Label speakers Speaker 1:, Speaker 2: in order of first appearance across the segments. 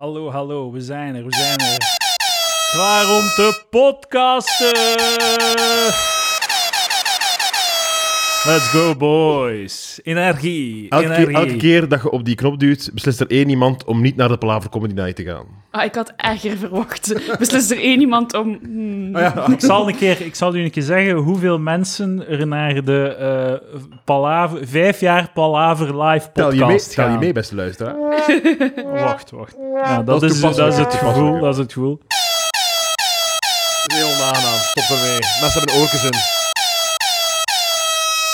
Speaker 1: Hallo, hallo, we zijn er, we zijn er. Klaar om te podcasten! Let's go, boys. Energie,
Speaker 2: Elke keer,
Speaker 1: energie.
Speaker 2: elke keer dat je op die knop duwt, beslist er één iemand om niet naar de Palaver Comedy Night te gaan.
Speaker 3: Ah, ik had erger verwacht. Beslist er één iemand om... hmm.
Speaker 2: Oh
Speaker 1: Ik zal, een keer, ik zal u een keer zeggen hoeveel mensen er naar de eh, Palaver, vijf jaar Palaver Live podcast
Speaker 2: Tel je, mee,
Speaker 1: gaan.
Speaker 2: tel je mee, beste luisteraar.
Speaker 1: Wacht, wacht. Ja, dat,
Speaker 2: Dat is
Speaker 1: is, dat is het
Speaker 2: toepasselijk, hè?
Speaker 1: gevoel, dat is het gevoel.
Speaker 4: Heel onaangenaam. Stop ermee. Mensen hebben oortjes in.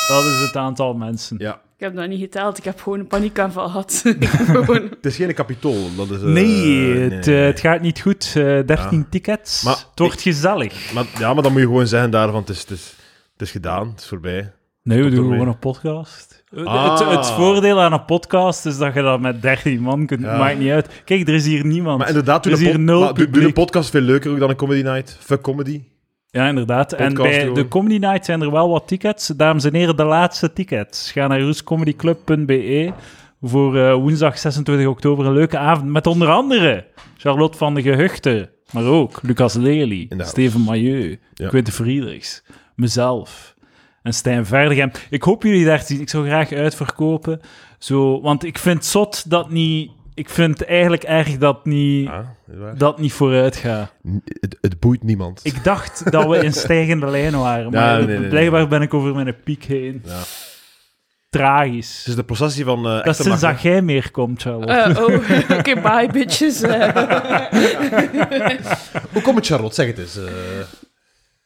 Speaker 1: Dat is het aantal mensen.
Speaker 2: Ja.
Speaker 3: Ik heb dat niet geteld. Ik heb gewoon een paniekaanval gehad. Ik heb gewoon...
Speaker 2: Het is geen kapitool. Dat is, eh,
Speaker 1: Nee, het, eh,
Speaker 2: nee.
Speaker 1: het gaat niet goed. Eh 13 tickets.
Speaker 2: Maar
Speaker 1: het wordt gezellig.
Speaker 2: Maar, ja, maar dan moet je gewoon zeggen daarvan, het is, het is, het is gedaan, het is voorbij.
Speaker 1: Nee, we
Speaker 2: Tot
Speaker 1: doen
Speaker 2: ermee.
Speaker 1: gewoon een podcast.
Speaker 2: Ah.
Speaker 1: Eh, Het, het voordeel aan een podcast is dat je dat met 13 man kunt.
Speaker 2: Ja.
Speaker 1: Maakt niet uit. Kijk, er is hier niemand.
Speaker 2: Maar inderdaad,
Speaker 1: er
Speaker 2: doe
Speaker 1: is
Speaker 2: een,
Speaker 1: hier
Speaker 2: pod-
Speaker 1: nul
Speaker 2: maar doe- doe
Speaker 1: publiek.
Speaker 2: een podcast veel leuker ook dan een Comedy Night. Fuck comedy.
Speaker 1: ja, inderdaad. En
Speaker 2: podcast
Speaker 1: bij
Speaker 2: doen.
Speaker 1: de Comedy Night zijn er wel wat tickets. Dames en heren, de laatste tickets. Ga naar roescomedyclub.be E voor eh, woensdag 26 oktober een leuke avond. Met onder andere Charlotte van de Gehuchten. Maar ook Lucas Lely,
Speaker 2: Inderdaad.
Speaker 1: Steven Mailleu,
Speaker 2: Ja.
Speaker 1: Quinten Friedrichs, mezelf en Stijn Verdegem. Ik hoop jullie daar te zien. Ik zou graag uitverkopen. Zo, want ik vind zot dat niet... Ik vind eigenlijk erg dat niet,
Speaker 2: Ah, is waar.
Speaker 1: dat niet vooruit gaat.
Speaker 2: N- Het, het boeit niemand.
Speaker 1: Ik dacht dat we in stijgende lijn waren, maar
Speaker 2: Ja, nee, nee, nee.
Speaker 1: blijkbaar ben ik over mijn piek heen.
Speaker 2: Ja. Het
Speaker 1: Tragisch.
Speaker 2: is de processie van... eh
Speaker 1: Dat is
Speaker 2: echte
Speaker 1: sinds dat
Speaker 2: magie.
Speaker 1: jij meer komt, Charlotte.
Speaker 3: Eh, oh, oké, bye, bitches. Eh,
Speaker 2: Hoe komt het, Charlotte? Zeg het eens. eh.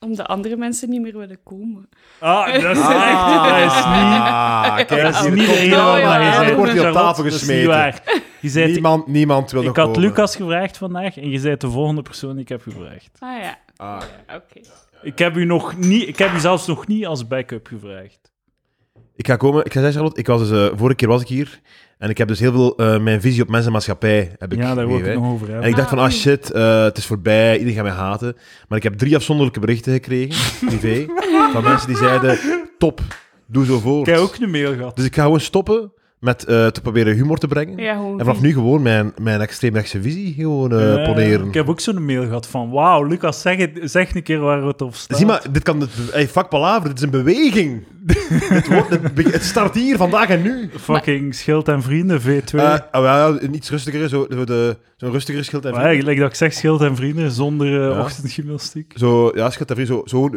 Speaker 3: omdat andere mensen niet meer willen komen.
Speaker 1: ah, dat is echt... Dat is niet...
Speaker 2: Ah, kijk,
Speaker 1: Dat is
Speaker 2: hier
Speaker 1: niet de
Speaker 2: komt-
Speaker 1: reden waarom
Speaker 3: ja,
Speaker 1: dat je
Speaker 3: ja,
Speaker 1: zei.
Speaker 2: Er wordt hier op
Speaker 1: Charlotte,
Speaker 2: tafel
Speaker 1: dat is niet
Speaker 2: gesmeten.
Speaker 1: waar. Je zei
Speaker 2: Niemand, niemand wil
Speaker 1: Ik
Speaker 2: nog
Speaker 1: had
Speaker 2: komen.
Speaker 1: Lucas gevraagd vandaag en je bent de volgende persoon die ik heb gevraagd.
Speaker 3: Ah ja,
Speaker 2: Ah,
Speaker 3: oké.
Speaker 1: Ik heb u, nog niet, ik heb u zelfs nog niet als backup gevraagd.
Speaker 2: Ik ga komen. Ik ga zeggen, Charlotte, ik was dus, eh, vorige keer was ik hier. En ik heb dus heel veel eh, mijn visie op mensen en maatschappij. Heb ik
Speaker 1: ja, daar wil ik
Speaker 2: gegeven,
Speaker 1: het
Speaker 2: hè.
Speaker 1: nog over
Speaker 2: En
Speaker 1: hebben.
Speaker 2: ik dacht van, ah shit, eh, het is voorbij, iedereen gaat mij haten. Maar ik heb drie afzonderlijke berichten gekregen, privé, van mensen die zeiden, top, doe zo voort.
Speaker 1: Ik heb ook een mail gehad.
Speaker 2: Dus ik ga gewoon stoppen met eh, te proberen humor te brengen.
Speaker 3: Ja, gewoon
Speaker 2: En vanaf nu gewoon mijn, mijn extreemrechtse visie gewoon eh,
Speaker 1: Eh,
Speaker 2: poneren.
Speaker 1: ik heb ook zo'n mail gehad van, wauw, Lucas, zeg, het- zeg een keer waar het op staat.
Speaker 2: Zie maar, dit kan... Hey, fuck palaver, dit is een beweging. het, wordt een be- het start hier, vandaag en nu.
Speaker 1: Fucking Schild en Vrienden, V2.
Speaker 2: Eh, oh ja, een iets rustiger, zo, zo de- zo'n rustigere schild. en
Speaker 1: maar eigenlijk dat ik zeg Schild en Vrienden zonder eh,
Speaker 2: Ja.
Speaker 1: ochtendgymnastiek.
Speaker 2: Zo, ja, schat, even zo, zo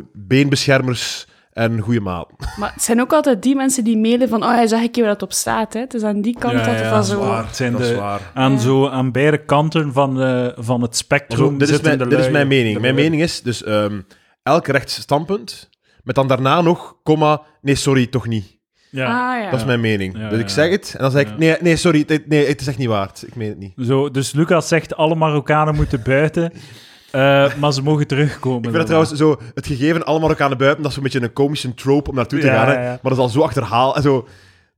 Speaker 2: beenbeschermers en goede maal.
Speaker 3: Maar het zijn ook altijd die mensen die mailen van... Oh, hij zag een keer waar dat op staat, hè. Het is aan die kant dat het wel zo...
Speaker 1: Het zijn
Speaker 2: dat is
Speaker 1: de-
Speaker 2: waar.
Speaker 1: Aan,
Speaker 3: Ja.
Speaker 1: zo, aan beide kanten van, eh, van het
Speaker 2: Maar zo,
Speaker 1: spectrum
Speaker 2: dit, is
Speaker 1: zitten
Speaker 2: mijn,
Speaker 1: de
Speaker 2: dit
Speaker 1: lui.
Speaker 2: is mijn mening.
Speaker 1: De
Speaker 2: Mijn
Speaker 1: lui.
Speaker 2: mening is dus ehm, elk rechts standpunt, met dan daarna nog, comma, nee, sorry, toch niet.
Speaker 1: Ja.
Speaker 3: Ah ja.
Speaker 2: Dat is mijn mening.
Speaker 1: Ja,
Speaker 2: dus
Speaker 1: ja.
Speaker 2: ik zeg het, en dan zeg ik,
Speaker 1: Ja.
Speaker 2: nee, nee, sorry, dit- nee, het is echt niet waard. Ik meen het niet.
Speaker 1: Zo, dus Lucas zegt, alle Marokkanen moeten buiten, eh, maar ze mogen terugkomen.
Speaker 2: Ik vind het
Speaker 1: daarna.
Speaker 2: trouwens zo, het gegeven allemaal elkaar buiten, dat is zo'n beetje een komische trope om naartoe te
Speaker 1: Ja,
Speaker 2: gaan. hè.
Speaker 1: ja, ja.
Speaker 2: Maar dat is al zo achterhaal. en Zo,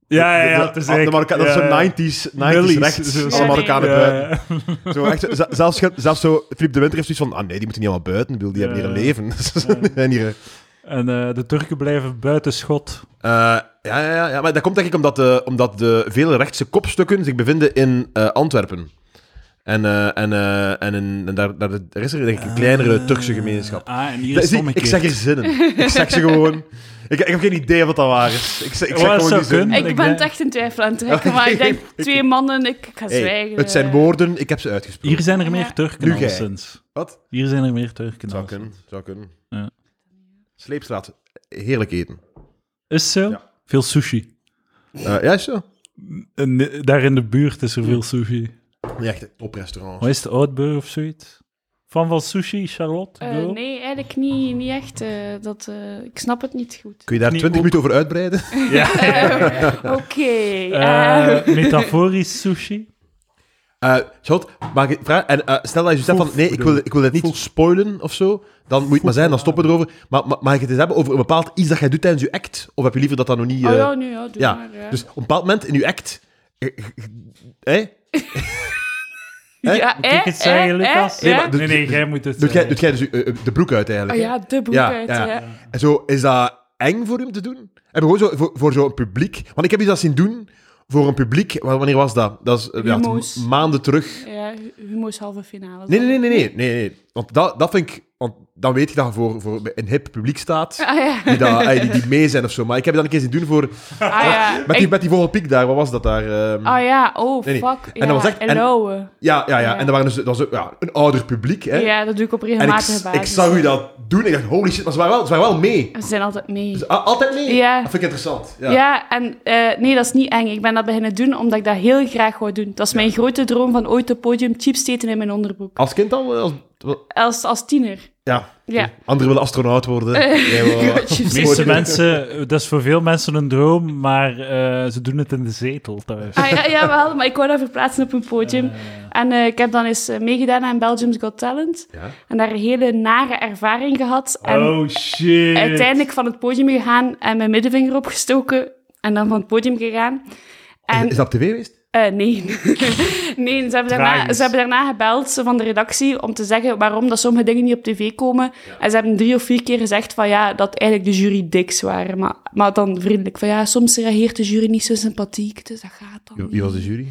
Speaker 1: Ja, ja,
Speaker 2: de-
Speaker 1: ja.
Speaker 2: de-
Speaker 1: Het is
Speaker 2: de
Speaker 1: echt-
Speaker 2: Marokka- dat is
Speaker 1: ja, ja.
Speaker 2: zo'n 90s, 90s
Speaker 1: Millies,
Speaker 2: rechts.
Speaker 1: zo-
Speaker 2: Alle Marokkanen
Speaker 1: Ja,
Speaker 2: buiten.
Speaker 1: ja.
Speaker 2: Zo, echt, zo- zelfs, zelfs- zelfs zo, Filip de Winter heeft zoiets van, ah nee, die moeten niet allemaal buiten, ik bedoel, die
Speaker 1: Ja.
Speaker 2: hebben hier een leven. Die zijn hier,
Speaker 1: En eh, de Turken blijven buiten schot.
Speaker 2: eh, ja, ja, ja, ja, maar dat komt denk ik omdat de, omdat de vele rechtse kopstukken zich bevinden in eh, Antwerpen. En, eh, en, eh, en, in- en daar, daar daar is er denk ik een kleinere Turkse gemeenschap.
Speaker 1: Ah, en hier
Speaker 2: Dat
Speaker 1: is
Speaker 2: is
Speaker 1: het
Speaker 2: niet- ik
Speaker 1: omgekeerd.
Speaker 2: zeg er zin in. Ik zeg ze gewoon. Ik, ik heb geen idee wat dat waar is. Ik, zeg- ik zeg
Speaker 1: Wat
Speaker 2: gewoon
Speaker 1: zou
Speaker 2: die zin.
Speaker 1: kunnen? Ik
Speaker 3: Ik ben
Speaker 1: denk-
Speaker 3: het echt in twijfel aan het trekken, maar ik denk twee mannen, ik, ik ga
Speaker 2: Hey,
Speaker 3: zwijgen.
Speaker 2: het zijn
Speaker 3: eh.
Speaker 2: woorden, ik heb ze uitgesproken.
Speaker 1: Hier zijn er meer
Speaker 3: Ja.
Speaker 1: Turken
Speaker 2: Nu jij.
Speaker 1: alleszins.
Speaker 2: Wat?
Speaker 1: Hier zijn er meer Turken
Speaker 2: Zou
Speaker 1: alleszins.
Speaker 2: kunnen, zou kunnen.
Speaker 1: Ja.
Speaker 2: Sleepstraat, heerlijk eten.
Speaker 1: Is zo?
Speaker 2: Ja.
Speaker 1: Veel sushi.
Speaker 2: Eh ja, is zo.
Speaker 1: En, eh, daar in de buurt is er veel sushi.
Speaker 2: Ja, echt een toprestaurant.
Speaker 1: Wat is het, Oudburg of zoiets? Van van sushi, Charlotte?
Speaker 3: Eh,
Speaker 1: Doe?
Speaker 3: nee, eigenlijk niet, niet echt. eh, dat, eh, ik snap het niet goed.
Speaker 2: Kun je daar
Speaker 1: Niet
Speaker 2: 20 minuten over uitbreiden?
Speaker 1: Ja.
Speaker 3: Oké. eh,
Speaker 1: Eh, metaforisch sushi?
Speaker 2: Eh Charlotte, mag ik vragen? En eh, stel dat je zegt van,
Speaker 1: Foef,
Speaker 2: nee, ik wil, ik wil het niet
Speaker 1: Foef.
Speaker 2: spoilen of zo, dan moet het maar zijn, dan stoppen we erover. Maar ma- mag ik het eens hebben over een bepaald iets dat jij doet tijdens je act? Of heb je liever dat dat nog niet...
Speaker 3: oh
Speaker 2: eh,
Speaker 3: ja, nu ja, doe
Speaker 2: ja.
Speaker 3: maar. ja.
Speaker 2: Dus op een bepaald moment in je act... eh, eh, Hè? eh,
Speaker 3: ja,
Speaker 1: Moet ik
Speaker 3: eh,
Speaker 1: het zeggen,
Speaker 3: eh,
Speaker 1: Lucas?
Speaker 3: eh, ja.
Speaker 2: maar- doet-
Speaker 1: nee, nee, jij moet het
Speaker 2: Doet jij,
Speaker 1: zeggen.
Speaker 2: doet jij dus je, eh, de broek uit
Speaker 3: Ah
Speaker 2: eigenlijk? hè?
Speaker 3: ja, de broek
Speaker 2: Ja,
Speaker 3: uit.
Speaker 2: ja.
Speaker 3: Ja.
Speaker 2: En zo, is dat eng voor hem te doen? En gewoon zo, voor, voor zo'n publiek? Want ik heb iets dat zien doen voor een publiek. wa- Wanneer was dat? Dat is eh, ja,
Speaker 3: Humo's.
Speaker 2: m- maanden terug.
Speaker 3: Ja, hu- humo's halve finale.
Speaker 2: Nee, nee, nee, nee, nee. nee, nee. Want dat, dat vind ik. Want dan weet je dat je voor, voor een hip publiek staat.
Speaker 3: Ah ja.
Speaker 2: Die, dat, eh, die, die mee zijn of zo. Maar ik heb dat een keer zien doen voor.
Speaker 3: Ah ja.
Speaker 2: Met die,
Speaker 3: Ik-
Speaker 2: met die vogelpiek daar, wat was dat daar? ehm?
Speaker 3: Ah ja, oh
Speaker 2: Nee, nee.
Speaker 3: fuck.
Speaker 2: En dat was echt- en-
Speaker 3: Lauwe.
Speaker 2: ja, ja, ja,
Speaker 3: ja.
Speaker 2: En dat, waren dus, dat was ook, ja, een ouder publiek. Hè?
Speaker 3: Ja, dat doe ik op
Speaker 2: en ik,
Speaker 3: regelmatige basis.
Speaker 2: ik zag u dat doen. Ik dacht, holy shit, maar ze waren wel, ze waren wel mee.
Speaker 3: Ze zijn altijd mee.
Speaker 2: Dus, a- altijd mee?
Speaker 3: Ja.
Speaker 2: Dat vind ik interessant. Ja.
Speaker 3: Ja, en eh, nee, dat is niet eng. Ik ben dat beginnen doen omdat ik dat heel graag wou doen. Dat is mijn grote droom van ooit op podium chips te eten in mijn onderbroek.
Speaker 2: Als kind al? eh, Als, wel,
Speaker 3: Als, als tiener.
Speaker 2: ja.
Speaker 3: Ja.
Speaker 2: Anderen willen astronaut worden. Jij wil-
Speaker 3: Chips
Speaker 1: De meeste mensen, eh, dat is voor veel mensen een droom, maar eh, ze doen het in de zetel thuis.
Speaker 3: Ah, ja, jawel, maar ik wou dat verplaatsen op een
Speaker 1: Ah,
Speaker 3: podium. En eh, ik heb dan eens eh, meegedaan aan Belgium's Got Talent.
Speaker 2: Ja.
Speaker 3: En daar een hele nare ervaring gehad. En
Speaker 1: oh shit.
Speaker 3: uiteindelijk van het podium gegaan en mijn middenvinger opgestoken. En dan van het podium gegaan. En
Speaker 2: Is dat op tv geweest?
Speaker 3: Eh, nee. nee, ze hebben, daarna,
Speaker 1: Tragisch.
Speaker 3: ze hebben daarna gebeld ze van de redactie om te zeggen waarom dat sommige dingen niet op tv komen. En ze hebben drie of vier keer gezegd van ja, dat eigenlijk de jury diks waren. Maar, maar dan vriendelijk van ja, soms reageert de jury niet zo sympathiek, dus dat gaat dan
Speaker 2: Wie-
Speaker 3: niet.
Speaker 2: Wie was de jury?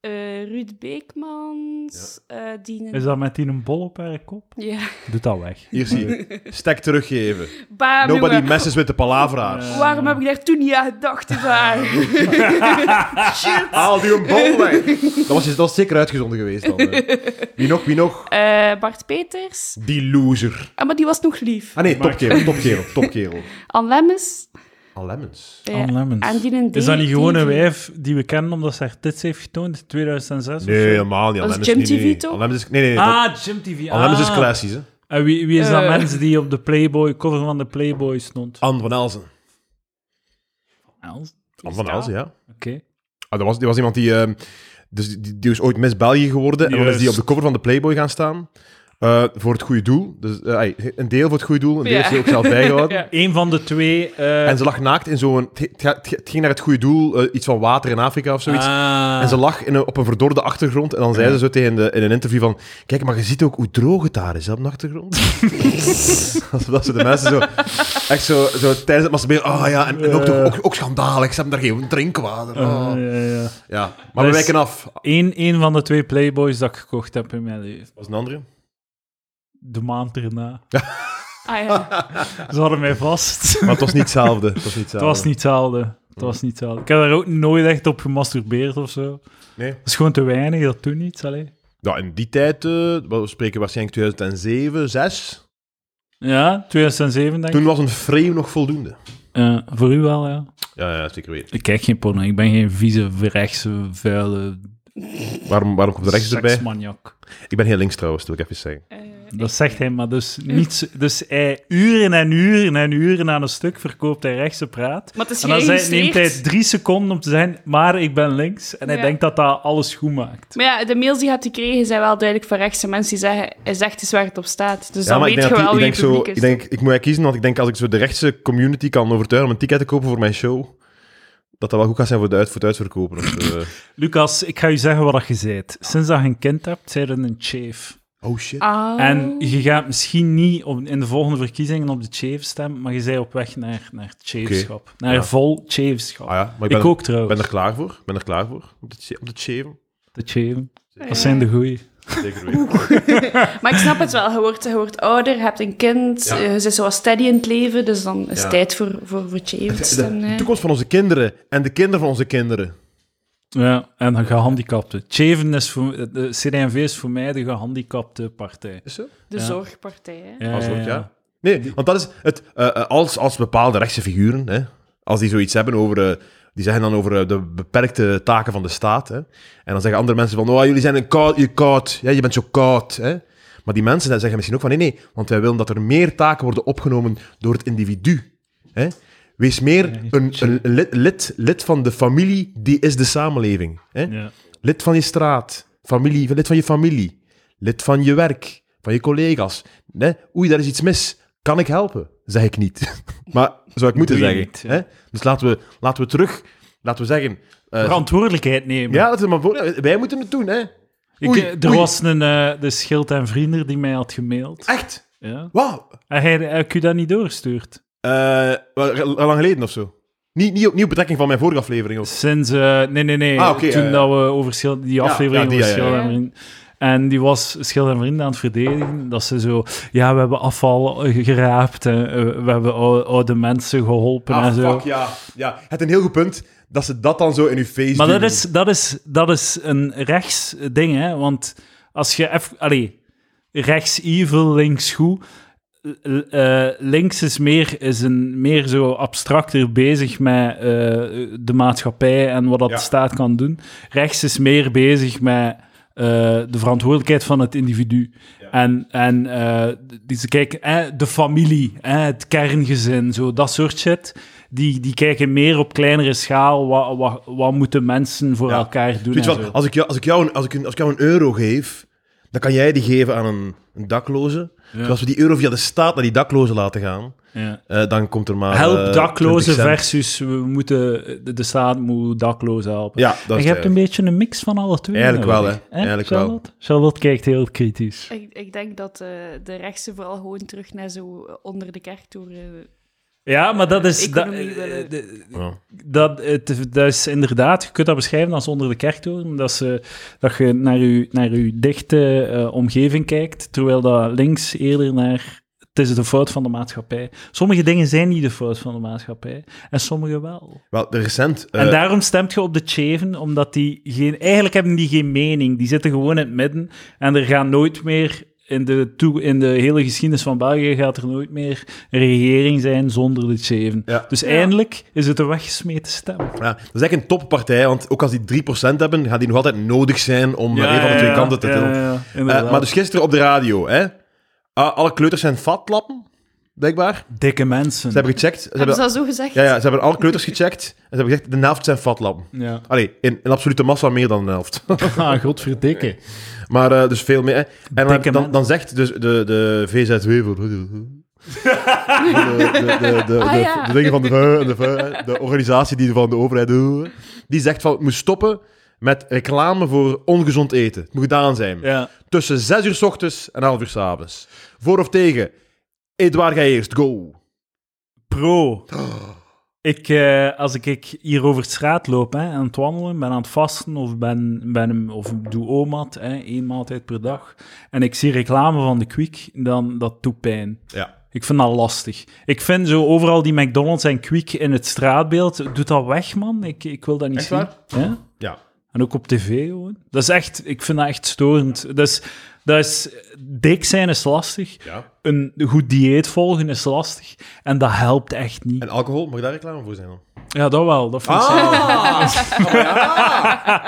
Speaker 3: Eh, Ruud Beekmans, eh die...
Speaker 1: Is dat met die een bol op haar kop?
Speaker 3: Ja.
Speaker 1: Doet dat weg.
Speaker 2: Hier zie je. Stek teruggeven.
Speaker 3: Bam,
Speaker 2: Nobody
Speaker 3: jongen.
Speaker 2: messes with the palavra's.
Speaker 3: Waarom heb ik daar toen niet aan gedacht? is waar? Shit.
Speaker 2: Haal die een bal weg. Dat was, dat was zeker uitgezonden geweest dan. hè. Wie nog, wie nog?
Speaker 3: Eh, Bart Peters.
Speaker 2: Die loser.
Speaker 3: Ah, maar die was nog lief.
Speaker 2: Ah nee, topkerel, topkerel, topkerel.
Speaker 3: Anne Eh, Lemmens.
Speaker 2: Al Lemmens.
Speaker 3: Ja.
Speaker 1: Anne Lemmens.
Speaker 3: En die een
Speaker 1: Is dat niet
Speaker 3: date
Speaker 1: gewoon een
Speaker 3: die-
Speaker 1: wijf die we kennen omdat ze haar tits heeft getoond in 2006?
Speaker 2: Nee,
Speaker 1: of zo?
Speaker 2: helemaal niet. Al
Speaker 3: Dat is
Speaker 2: Lemmens
Speaker 3: Jim
Speaker 2: niet,
Speaker 3: TV
Speaker 2: nee.
Speaker 3: toch?
Speaker 2: Al Lemmens is... Nee, nee, nee. dat-
Speaker 1: Ah, Jim TV.
Speaker 2: Al Lemmens is
Speaker 1: ah.
Speaker 2: classisch, hè.
Speaker 1: En wie, wie is dat
Speaker 3: Eh.
Speaker 1: mens die op de Playboy, cover van de Playboy stond?
Speaker 2: Anne van Elzen. Ah.
Speaker 1: Els?
Speaker 2: Anne van Elzen, ja.
Speaker 1: Oké.
Speaker 2: Ah, dat, was, dat was iemand die, ehm, dus die, die is ooit Miss België geworden. En dan is die op
Speaker 1: Juist.
Speaker 2: de cover van de Playboy gaan staan. eh, voor het goede doel. Dus, eh, ai, een deel voor het goede doel, een deel
Speaker 3: Ja.
Speaker 2: heeft ze ook zelf bijgehouden.
Speaker 3: Ja.
Speaker 1: Eén van de twee. eh,
Speaker 2: En ze lag naakt in zo'n... Het, het, het- het ging naar het goede doel, eh, iets van water in Afrika of zoiets.
Speaker 1: ah.
Speaker 2: En ze lag in een- op een verdorde achtergrond. En dan zei ze zo tegen de, in een interview van... Kijk, maar je ziet ook hoe droog het daar is, hè, op de achtergrond. Alsof ze de mensen zo... Echt zo, zo tijdens het masturberen... Ah ja, en, en ook, toch- ook, ook schandalig. Ze hebben daar geen drinkwater.
Speaker 1: Eh,
Speaker 3: Oh.
Speaker 2: Ah.
Speaker 1: ja, ja.
Speaker 2: Ja,
Speaker 1: Dus-
Speaker 2: maar we wijken af. Wat
Speaker 1: Eén, één van de twee Playboys dat ik gekocht heb in mijn leven.
Speaker 2: was een andere?
Speaker 1: De maand erna.
Speaker 3: Ah ja.
Speaker 1: Ze hadden mij vast.
Speaker 2: Maar het was niet hetzelfde. Het was niet hetzelfde.
Speaker 1: Het was niet hetzelfde. Het was niet hetzelfde. Ik heb daar ook nooit echt op gemasturbeerd of zo.
Speaker 2: Nee.
Speaker 1: Dat is gewoon te weinig, dat toen niet. Allee.
Speaker 2: Ja, in die tijd... eh, we spreken waarschijnlijk 2007, 2006.
Speaker 1: Ja, 2007 denk ik.
Speaker 2: Toen was een frame nog voldoende.
Speaker 1: Eh, voor u wel, ja.
Speaker 2: Ja, ja zeker weten.
Speaker 1: Ik kijk geen porno. Ik ben geen vieze, rechtse, vuile
Speaker 2: Waarom, waarom komt de rechts erbij?
Speaker 1: seksmaniak.
Speaker 2: Ik ben heel links trouwens, wil ik even zeggen.
Speaker 3: Eh,
Speaker 1: Dat zegt hij, maar dus niets. Dus hij uren en uren en uren aan een stuk verkoopt hij rechtse praat.
Speaker 3: Maar het is
Speaker 1: En dan zei-
Speaker 3: geregistreerd.
Speaker 1: neemt hij drie seconden om te zeggen, maar ik ben links. En hij
Speaker 3: Ja.
Speaker 1: denkt dat dat alles goed maakt.
Speaker 3: Maar ja, de mails die je hebt gekregen zijn wel duidelijk van rechtse mensen die zeggen, hij zegt eens waar het op staat. Dus dan
Speaker 2: ik
Speaker 3: weet
Speaker 2: denk,
Speaker 3: je
Speaker 2: dat die-
Speaker 3: wel
Speaker 2: ik
Speaker 3: wie
Speaker 2: denk
Speaker 3: het
Speaker 2: zo,
Speaker 3: publiek is.
Speaker 2: ik denk, ik moet ja kiezen, want ik denk als ik zo de rechtse community kan overtuigen om een ticket te kopen voor mijn show, dat dat wel goed gaat zijn voor, de uit, voor het uitverkopen. Of, zo. Eh,
Speaker 1: Lucas, ik ga je zeggen wat je zijt. Sinds dat je een kind hebt, zij er een chief.
Speaker 2: oh shit.
Speaker 3: Ah.
Speaker 1: En je gaat misschien niet op, in de volgende verkiezingen op de chief stemmen, maar je zij op weg naar, naar chiefschap. Naar
Speaker 2: ja.
Speaker 1: vol chiefschap.
Speaker 2: Ah ja, maar
Speaker 1: ik
Speaker 2: ik ben,
Speaker 1: ook
Speaker 2: ik ben
Speaker 1: trouwens.
Speaker 2: er klaar voor. Ik ben er klaar voor. Om te, om te shaven.
Speaker 1: De chief. Dat zijn de goeie.
Speaker 2: Zeker weten.
Speaker 3: Maar ik snap het wel. Je wordt, je wordt ouder, je hebt een kind,
Speaker 2: Ja.
Speaker 3: eh, je zit zo wat steady in het leven, dus dan is het
Speaker 2: Ja.
Speaker 3: tijd voor, voor, voor
Speaker 2: De,
Speaker 3: James.
Speaker 2: de
Speaker 3: En, eh,
Speaker 2: toekomst van onze kinderen en de kinderen van onze kinderen.
Speaker 1: Ja, en de gehandicapten. Cheven is voor, de CD&V is voor mij de gehandicapte partij.
Speaker 2: Is zo?
Speaker 3: de
Speaker 1: ja.
Speaker 3: zorgpartij. hè.
Speaker 1: Ja,
Speaker 2: Als ook, ja. Nee, want dat is het. eh, eh, als, als bepaalde rechtse figuren, hè, als die zoiets hebben over. eh, die zeggen dan over eh, de beperkte taken van de staat. Hè, en dan zeggen andere mensen van. Oh, jullie zijn een koud, je koud. Ja, je bent zo koud. Hè. Maar die mensen dan zeggen misschien ook van. Nee, nee, want wij willen dat er meer taken worden opgenomen door het individu. Hè. Wees meer een, een lid, lid, lid van de familie, die is de samenleving. Hè.
Speaker 1: Ja.
Speaker 2: Lid van je straat, familie, lid van je familie, lid van je werk, van je collega's. Nee, oei, daar is iets mis. Kan ik helpen? Zeg ik niet. maar zou ik moeten
Speaker 1: Doe je
Speaker 2: zeggen.
Speaker 1: niet, ja.
Speaker 2: hè? Dus laten we, laten we terug, laten we zeggen. eh,
Speaker 1: Verantwoordelijkheid nemen.
Speaker 2: ja, dat is maar voor, eh, wij moeten het doen, hè?
Speaker 1: Ik,
Speaker 2: Oei,
Speaker 1: eh, er
Speaker 2: oei. Ah.
Speaker 1: was een eh, de schild en vriender die mij had gemaild.
Speaker 2: Echt?
Speaker 1: Ja.
Speaker 2: Wauw.
Speaker 1: En hij heb ik u dat niet doorgestuurd.
Speaker 2: Eh, wel, lang geleden of zo. Niet, niet, op, niet op betrekking van mijn vorige aflevering. Ook.
Speaker 1: Sinds... eh, nee, nee, nee.
Speaker 2: Ah, oké,
Speaker 1: Toen
Speaker 2: ja, ja.
Speaker 1: dat we over Schil- die aflevering
Speaker 2: ja, die,
Speaker 1: over
Speaker 2: ja, ja,
Speaker 1: Schilder
Speaker 3: ja.
Speaker 1: en Vrienden... En die was Schilder en Vrienden aan het verdedigen. Dat ze zo... Ja, we hebben afval eh, geraapt. En, eh, we hebben oude, oude mensen geholpen en
Speaker 2: Ah,
Speaker 1: zo.
Speaker 2: fuck, ja. ja. Het een heel goed punt dat ze dat dan zo in uw face
Speaker 1: Maar dat
Speaker 2: duwen.
Speaker 1: is, dat, is, dat is een rechts ding, hè? Want als je eff- allee, rechts evil, links goed. L- eh, links is meer, is een, meer zo abstracter bezig met eh, de maatschappij en wat dat
Speaker 2: Ja.
Speaker 1: de staat kan doen. Rechts is meer bezig met eh, de verantwoordelijkheid van het individu. En, en eh, die, ze kijken, eh, de familie, eh, het kerngezin, zo, dat soort shit. Die, die kijken meer op kleinere schaal. Wat, wat, wat moeten mensen voor
Speaker 2: Ja.
Speaker 1: elkaar doen?
Speaker 2: Zoiets
Speaker 1: en
Speaker 2: van,
Speaker 1: zo.
Speaker 2: als ik, jou, als, ik jou een, als, ik, een- als ik jou een euro geef, dan kan jij die geven aan een, een dakloze. Dus als we die euro via de staat naar die dakloze laten gaan,
Speaker 1: Ja.
Speaker 2: eh, dan komt er maar... eh,
Speaker 1: Help daklozen
Speaker 2: 20 cent.
Speaker 1: versus we moeten, de, de staat moet daklozen helpen.
Speaker 2: Ja, dat
Speaker 1: en
Speaker 2: is
Speaker 1: je hebt
Speaker 2: het
Speaker 1: een beetje een mix van alle twee.
Speaker 2: Eigenlijk wel,
Speaker 1: nodig,
Speaker 2: hè. Eigenlijk wel.
Speaker 1: Charlotte? Charlotte kijkt heel kritisch.
Speaker 3: Ik, ik denk dat eh, de rechtse vooral gewoon terug naar zo eh, onder de kerktoren...
Speaker 1: Ja, maar dat is... Dat,
Speaker 3: Economie willen.
Speaker 1: de-
Speaker 2: Ja.
Speaker 1: dat, het, dat is inderdaad... Je kunt dat beschrijven als onder de kerktoren. Dat, ze, dat je naar je, naar uw dichte eh, omgeving kijkt, terwijl dat links eerder naar... Het is de fout van de maatschappij. Sommige dingen zijn niet de fout van de maatschappij. En sommige wel.
Speaker 2: Wel, de recent... eh,
Speaker 1: En daarom stemt je op de Cheven, omdat die geen... Eigenlijk hebben die geen mening. Die zitten gewoon in het midden. En er gaan nooit meer... In de, toe, in de hele geschiedenis van België gaat er nooit meer een regering zijn zonder de Cheven.
Speaker 2: Ja.
Speaker 1: Dus eindelijk is het een weggesmeten stem.
Speaker 2: ja, dat is eigenlijk een toppartij, want ook als die 3% hebben, gaan die nog altijd nodig zijn om naar een van de twee kanten te
Speaker 1: ja,
Speaker 2: tillen.
Speaker 1: ja, ja,
Speaker 2: Eh,
Speaker 1: inderdaad.
Speaker 2: maar dus gisteren op de radio, hè. Ah, alle kleuters zijn fatlappen, blijkbaar. Ze
Speaker 1: Dikke mensen.
Speaker 2: hebben gecheckt. Ze
Speaker 3: Hebben
Speaker 2: hebben,
Speaker 3: ze dat zo gezegd?
Speaker 2: ja, ja, ze hebben alle kleuters gecheckt. En ze hebben gezegd, de helft zijn fatlappen.
Speaker 1: Ja.
Speaker 2: Allee, in, in absolute massa meer dan de helft.
Speaker 1: Ah, godverdikke.
Speaker 2: maar eh, dus veel meer. hè. En dan,
Speaker 1: Dikke
Speaker 2: dan,
Speaker 1: man.
Speaker 2: dan zegt dus de, de VZW voor... De, de, de, de, de,
Speaker 3: Ah, ja.
Speaker 2: de dingen van de, V- en de, V, hè, de organisatie die van de overheid doet, die zegt van, het moet stoppen met reclame voor ongezond eten. Het moet gedaan zijn.
Speaker 1: Ja.
Speaker 2: Tussen 6 uur s ochtends en 11 uur s avonds. Voor of tegen? Edouard, ga je eerst. Go.
Speaker 1: Pro. Ik, eh, als ik, ik hier over de straat loop hè, aan het wandelen, ben aan het vasten of, ben, ben, hem- of doe OMAD, hè, één maaltijd per dag, en ik zie reclame van de Quick, dan dat doet pijn.
Speaker 2: Ja.
Speaker 1: Ik vind dat lastig. Ik vind zo overal die McDonald's en Quick in het straatbeeld, doet dat weg, man. Ik, ik wil dat niet
Speaker 2: Echt
Speaker 1: zien.
Speaker 2: waar?
Speaker 1: Ja?
Speaker 2: Ja.
Speaker 1: En ook op tv, gewoon. Dat is echt, ik vind dat echt storend. Dat is, dat is, dik zijn is lastig.
Speaker 2: ja.
Speaker 1: Een goed dieet volgen is lastig. En dat helpt echt niet.
Speaker 2: En alcohol, mag daar reclame voor zijn dan?
Speaker 1: Ja, dat wel. Dat vind ik
Speaker 2: Ah.
Speaker 1: zo. Ah.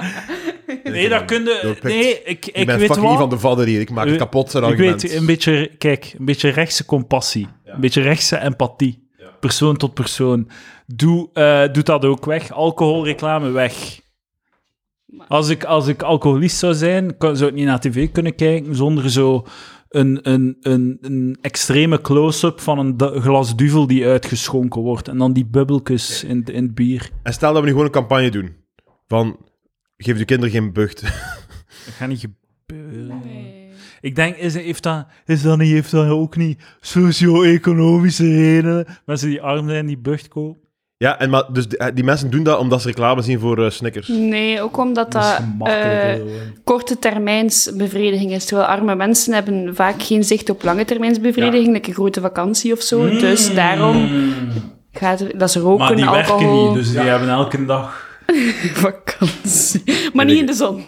Speaker 1: Nee, dat kun je-
Speaker 2: doorpikt.
Speaker 1: Nee, ik,
Speaker 2: Ik
Speaker 1: ik
Speaker 2: ben
Speaker 1: weet
Speaker 2: fucking
Speaker 1: wat.
Speaker 2: Ivan de Vadder hier. Ik maak het
Speaker 1: Eh,
Speaker 2: kapot, zijn
Speaker 1: ik
Speaker 2: argument.
Speaker 1: weet een beetje, kijk, een beetje rechtse compassie. Een beetje rechtse empathie. Persoon tot persoon. Doe, eh, doet dat ook weg. Alcoholreclame weg. Als ik, als ik alcoholist zou zijn, kon- zou ik niet naar tv kunnen kijken zonder zo een, een, een, een extreme close-up van een du- glas duvel die uitgeschonken wordt. En dan die bubbeltjes in, in het bier.
Speaker 2: En stel dat we nu gewoon een campagne doen. Van, geef de kinderen geen bucht.
Speaker 1: Dat gaat niet gebeuren.
Speaker 3: Nee.
Speaker 1: Ik denk, is, heeft, dat, is dat niet, heeft dat ook niet socio-economische redenen? Mensen die arm zijn, die bucht kopen.
Speaker 2: ja, en maar, dus die, die mensen doen dat omdat ze reclame zien voor eh, Snickers.
Speaker 3: Nee, ook omdat
Speaker 1: Dat is
Speaker 3: dat eh,
Speaker 1: gemakkelijk. hoor.
Speaker 3: korte termijns bevrediging is. Terwijl arme mensen hebben vaak geen zicht op lange termijns bevrediging, like een grote vakantie of zo. Dus daarom gaat er, dat ze roken,
Speaker 1: Mm. maar die
Speaker 3: alcohol,
Speaker 1: werken niet, dus die hebben elke dag...
Speaker 3: vakantie. Maar niet in de zon.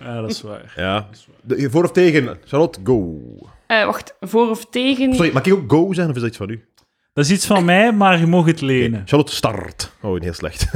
Speaker 1: Ja, dat is waar.
Speaker 2: Ja. De- voor of tegen? Charlotte, go.
Speaker 3: Eh, wacht, voor of tegen?
Speaker 2: Sorry, mag ik ook go zeggen of is dat iets van u?
Speaker 1: Dat is iets van mij, maar je mag het lenen.
Speaker 2: Charlotte, start. Oh, heel slecht.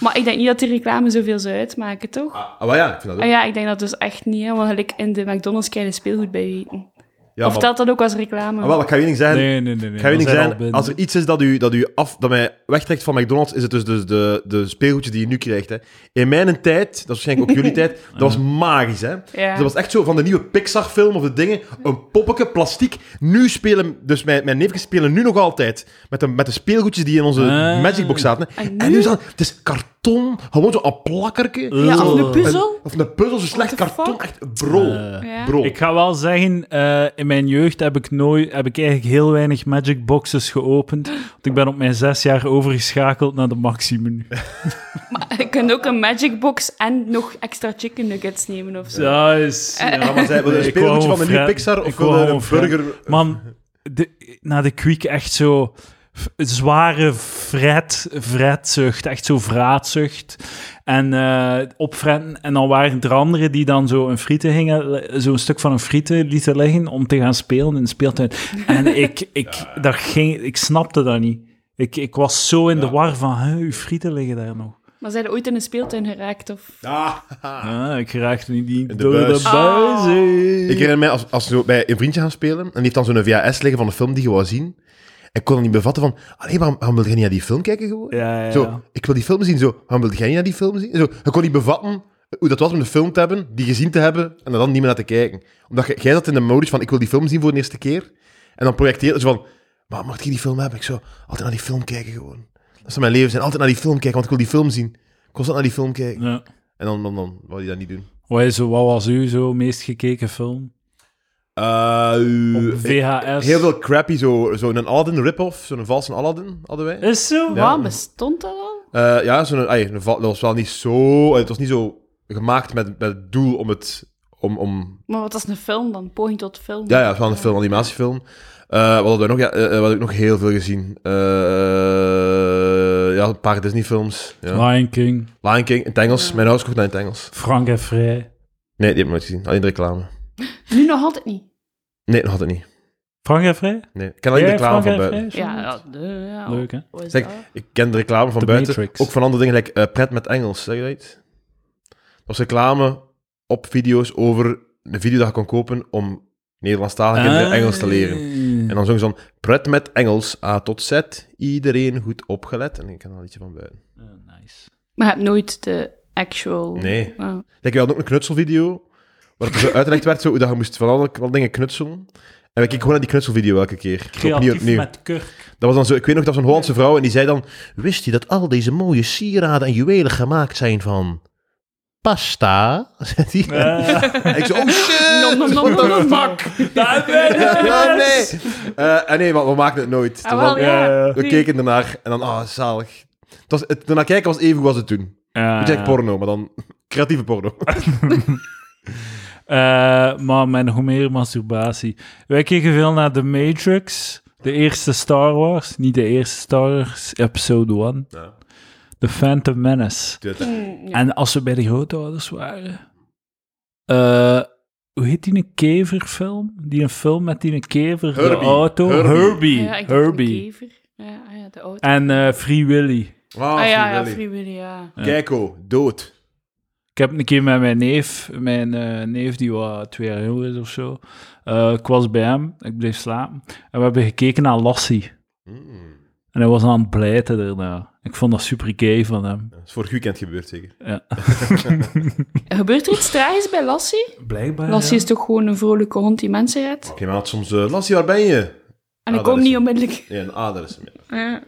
Speaker 3: Maar ik denk niet dat die reclame zoveel zou uitmaken, toch? Ah,
Speaker 2: ah, maar ja, ik vind dat ook.
Speaker 3: ja, ik denk dat dus echt niet, hè, want gelijk in de McDonald's kan je speelgoed bij eten.
Speaker 2: Ja,
Speaker 3: of
Speaker 2: maar-
Speaker 3: telt dat ook als reclame?
Speaker 2: Ah, wel, ik ga je één ding zeggen.
Speaker 1: Nee, nee, nee. nee.
Speaker 2: Ik ga je
Speaker 1: dat
Speaker 2: niet
Speaker 1: zijn al
Speaker 2: zijn,
Speaker 1: binnen.
Speaker 2: als er iets is dat u, dat u af, dat mij wegtrekt van McDonald's, is het dus de, de, de speelgoedjes die je nu krijgt. Hè. In mijn tijd, dat is waarschijnlijk ook jullie tijd, dat was magisch. Hè.
Speaker 3: Ja.
Speaker 2: Dus dat was echt zo van de nieuwe Pixar-film of de dingen, een poppetje, plastiek. Nu spelen, dus mijn, mijn neefjes spelen nu nog altijd met de, met de speelgoedjes die in onze
Speaker 1: Ah.
Speaker 2: Magic Box zaten.
Speaker 3: En
Speaker 2: En nu is dat, het is karton. karton. Gewoon zo'n plakkerke.
Speaker 3: Ja, of een puzzel.
Speaker 2: Of een puzzel, zo slecht
Speaker 3: What the
Speaker 2: karton.
Speaker 3: fuck?
Speaker 2: Echt bro.
Speaker 1: Eh,
Speaker 2: bro.
Speaker 1: Ik ga wel zeggen, eh, in mijn jeugd heb ik, nooit, heb ik eigenlijk heel weinig Magic Boxes geopend. Want ik ben op mijn zes jaar overgeschakeld naar de Maxi-menu.
Speaker 3: Maar je kunt ook een Magic Box en nog extra chicken nuggets nemen of zo.
Speaker 1: Ja, is...
Speaker 2: Ja, maar zij, wil je een
Speaker 1: Ik wou
Speaker 2: speelgoedje van
Speaker 1: gewoon
Speaker 2: de nieuwe
Speaker 1: Fred-
Speaker 2: Pixar of
Speaker 1: ik wou
Speaker 2: wil je
Speaker 1: gewoon
Speaker 2: een
Speaker 1: Fred-
Speaker 2: burger...
Speaker 1: Man, de, na de Quick echt zo f- zware fret, fretzucht, echt zo vraatzucht. En eh opfretten. En dan waren er anderen die dan zo een frieten gingen, zo'n stuk van een frieten lieten liggen om te gaan spelen in de speeltuin. En ik, ik, daar ging, ik snapte dat niet. Ik, ik was zo in de war van, hè, uw frieten liggen daar nog.
Speaker 3: Maar zijn er ooit in een speeltuin geraakt? Of...
Speaker 2: Ah, haha.
Speaker 1: Ah, ik raakte niet die
Speaker 2: In de
Speaker 1: door
Speaker 2: buis.
Speaker 1: de
Speaker 2: Ah.
Speaker 1: buis. hè.
Speaker 2: Ik herinner mij, als, als we bij een vriendje gaan spelen, en die heeft dan zo'n VHS liggen van een film die je wou zien, en ik kon dan niet bevatten van, allee, waarom, waarom wil jij niet naar die film kijken gewoon?
Speaker 1: Ja, ja, ja.
Speaker 2: Zo, ik wil die film zien, zo, waarom wil jij niet naar die film zien? Zo, ik kon niet bevatten hoe dat was om de film te hebben, die gezien te hebben, en er dan niet meer naar te kijken. Omdat jij- jij zat in de modus van, ik wil die film zien voor de eerste keer, en dan projecteerde ze van, maar mocht ik die film hebben? Ik zo, altijd naar die film kijken gewoon. Dat zou mijn leven zijn, altijd naar die film kijken, want ik wil die film zien. Constant naar die film kijken.
Speaker 1: Ja.
Speaker 2: En dan, dan, dan wou je dat niet doen.
Speaker 1: Wat, is, wat was uw zo meest gekeken film? Op VHS.
Speaker 2: Heel veel crappy, zo'n zo een Aladdin rip-off, zo'n valse Aladdin hadden wij.
Speaker 1: Is zo?
Speaker 2: Ja.
Speaker 3: Waar bestond dat al?
Speaker 2: Eh, ja, zo'n, ai, een val- dat was wel niet zo... eh, Het was niet zo gemaakt met, met het doel om het... Om, om,
Speaker 3: Maar wat was een film dan? Poging tot film?
Speaker 2: ja, ja, het was wel een film, animatiefilm. Eh, wat hadden we nog? Ja, eh, eh, wat heb ik nog heel veel gezien? Eh, ja, een paar Disney-films. Ja.
Speaker 1: Lion King,
Speaker 2: Lion King, in het Engels. Mijn ouders kocht naar in het Engels.
Speaker 1: Frank en Vrij.
Speaker 2: Nee, die heb ik nooit gezien. Alleen de reclame.
Speaker 3: Nu nog altijd niet.
Speaker 2: Nee, dat had het niet.
Speaker 1: Frank en Vrij?
Speaker 2: Nee. Ik ken alleen de reclame van buiten.
Speaker 3: Ja, Oh. ja, de, ja.
Speaker 1: Leuk, hè?
Speaker 3: Hoe is
Speaker 2: Zeg,
Speaker 3: dat?
Speaker 2: Ik ken de reclame van
Speaker 1: The
Speaker 2: buiten.
Speaker 1: Matrix.
Speaker 2: Ook van andere dingen, like eh, pret met Engels, zeg je dat iets? Dat was reclame op video's over een video dat je kon kopen om Nederlandstalige
Speaker 1: Ah.
Speaker 2: kinderen Engels te leren. En dan zongen ze dan pret met Engels, A tot Z, iedereen goed opgelet. En ik ken al ietsje van buiten.
Speaker 1: Oh, nice.
Speaker 3: Maar je hebt nooit de actual...
Speaker 2: Nee.
Speaker 3: Oh.
Speaker 2: Kijk, we hadden ook een knutselvideo, waar het zo uitgelegd werd zo, hoe dat je moest van alle alle dingen knutselen. En we keken gewoon naar die knutselvideo elke keer. Zo
Speaker 1: Creatief met kurk.
Speaker 2: Dat was dan zo, ik weet nog, dat was een Hollandse vrouw en die zei dan... Wist je dat al deze mooie sieraden en juwelen gemaakt zijn van... Pasta? Zei die. En ik zo, oh shit!
Speaker 3: Nom, nom, nom, nom, nom.
Speaker 2: Ja, nee! Eh, en nee, want we maakten het nooit.
Speaker 3: Ah,
Speaker 2: Toen
Speaker 3: wel,
Speaker 2: we-
Speaker 3: ja.
Speaker 2: We keken ernaar en dan, ah, zalig. Het was, het, ernaar kijken was even hoe was het toen.
Speaker 1: Ah,
Speaker 2: Beetje echt porno, maar dan creatieve porno.
Speaker 3: Ah,
Speaker 1: Eh, maar mijn hoe meer masturbatie. Wij keken veel naar The Matrix, de eerste Star Wars, niet de eerste Star Wars, episode 1.
Speaker 2: Ja.
Speaker 1: The Phantom Menace.
Speaker 3: Mm, ja.
Speaker 1: En als we bij de grootouders waren... eh, hoe heet die een keverfilm? Die een film met die een kever, de
Speaker 2: Herbie.
Speaker 1: auto?
Speaker 2: Herbie.
Speaker 1: Herbie.
Speaker 3: Ja, ik dacht een
Speaker 1: Herbie.
Speaker 3: kever. Ja, ah ja, de auto.
Speaker 1: En eh, Free Willy.
Speaker 2: Wow,
Speaker 3: Ah ja, ja, Free Willy, ja.
Speaker 1: Ja.
Speaker 2: Keiko, dood.
Speaker 1: Ik heb een keer met mijn neef, mijn eh, neef die wat twee jaar jonger is of zo, eh, ik was bij hem, ik bleef slapen, en we hebben gekeken naar Lassie.
Speaker 2: Mm,
Speaker 1: En hij was aan het blijten daarna. Ik vond dat super gay van hem.
Speaker 2: dat is vorig weekend gebeurd, zeker.
Speaker 1: Ja.
Speaker 3: Gebeurt er iets tragisch bij Lassie?
Speaker 2: Ah,
Speaker 1: Blijkbaar.
Speaker 3: Lassie is toch gewoon een vrolijke hond die mensen redt?
Speaker 2: Oké, maar soms... eh Lassie, waar ben je?
Speaker 3: En
Speaker 2: Ah,
Speaker 3: ik
Speaker 2: dat
Speaker 3: kom
Speaker 2: is-
Speaker 3: niet onmiddellijk.
Speaker 2: Nee, een ader is hem, ja.
Speaker 3: Ja.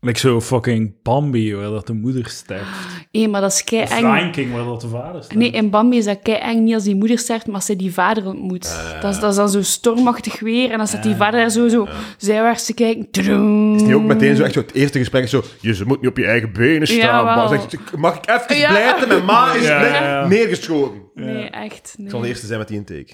Speaker 1: Like zo fucking Bambi, waar dat de moeder sterft.
Speaker 3: Hé, maar dat is kei
Speaker 1: Of
Speaker 3: eng.
Speaker 1: Lion King, waar dat de vader sterft.
Speaker 3: Nee, in Bambi is dat kei eng niet als die moeder sterft, maar als ze die vader ontmoet.
Speaker 2: Eh,
Speaker 3: Dat, is, dat is dan zo stormachtig weer en dan staat die vader daar zo, zo zijwaarts te kijken. Tudum.
Speaker 2: Die ook meteen zo
Speaker 3: Mm.
Speaker 2: echt zo het eerste gesprek is zo... Je ze moet niet op je eigen benen staan.
Speaker 3: Jawel.
Speaker 2: maar zegt, mag ik even
Speaker 3: Ja. Mm.
Speaker 2: blijten? Mijn ma is
Speaker 1: Ja,
Speaker 2: net
Speaker 1: ja, ja.
Speaker 2: neergeschoten.
Speaker 3: Nee, echt. nee.
Speaker 2: Ik zal de eerste zijn met die intake.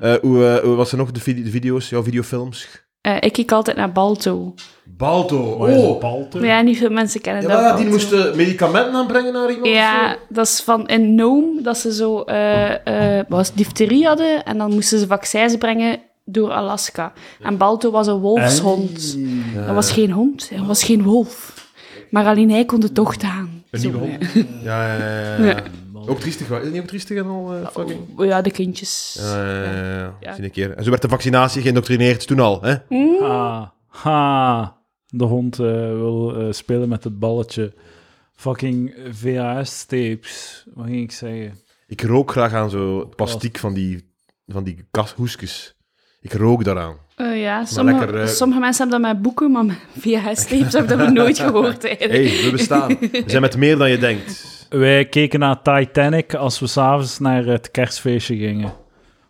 Speaker 2: Eh, hoe, eh, hoe was er nog de, vide- de video's, jouw videofilms?
Speaker 3: Eh, ik kijk altijd naar Balto.
Speaker 2: Balto,
Speaker 1: Waar is
Speaker 2: oh.
Speaker 1: Balto?
Speaker 3: Maar ja, niet veel mensen kennen
Speaker 2: Ja,
Speaker 3: dat.
Speaker 2: maar ja, die
Speaker 3: Balto.
Speaker 2: moesten medicamenten aanbrengen naar iemand. of
Speaker 3: Ja,
Speaker 2: zo.
Speaker 3: dat is van in Nome, dat ze zo eh, eh, wat was het, difterie hadden en dan moesten ze vaccins brengen door Alaska. En Balto was een wolfshond. Dat
Speaker 2: Eh.
Speaker 3: was geen hond, hij was geen wolf. Maar alleen hij kon de tocht aan.
Speaker 2: Een
Speaker 3: Zo,
Speaker 2: nieuwe hond.
Speaker 3: eh,
Speaker 2: Ja, ja, ja, ja, ja. Ook triestig, wa- is het niet ook triestig en al? eh, fucking?
Speaker 3: Ja, de kindjes.
Speaker 2: Ja, ja, ja, ja.
Speaker 3: Ja.
Speaker 2: Zie je een keer. En zo werd de vaccinatie geïndoctrineerd toen al. Hè?
Speaker 1: Ah, ha. De hond eh, wil eh, spelen met het balletje. Fucking VHS-tapes. Wat ging ik zeggen?
Speaker 2: Ik rook graag aan zo het plastiek van die, van die kashoesjes. Ik rook daaraan.
Speaker 3: Eh, ja, sommige,
Speaker 2: lekker, eh,
Speaker 3: sommige mensen hebben dat met boeken, maar met VHS-tapes heb ik dat nog nooit gehoord eigenlijk.
Speaker 2: hey, we bestaan. We zijn met meer dan je denkt.
Speaker 1: Wij keken naar Titanic als we s'avonds naar het kerstfeestje gingen.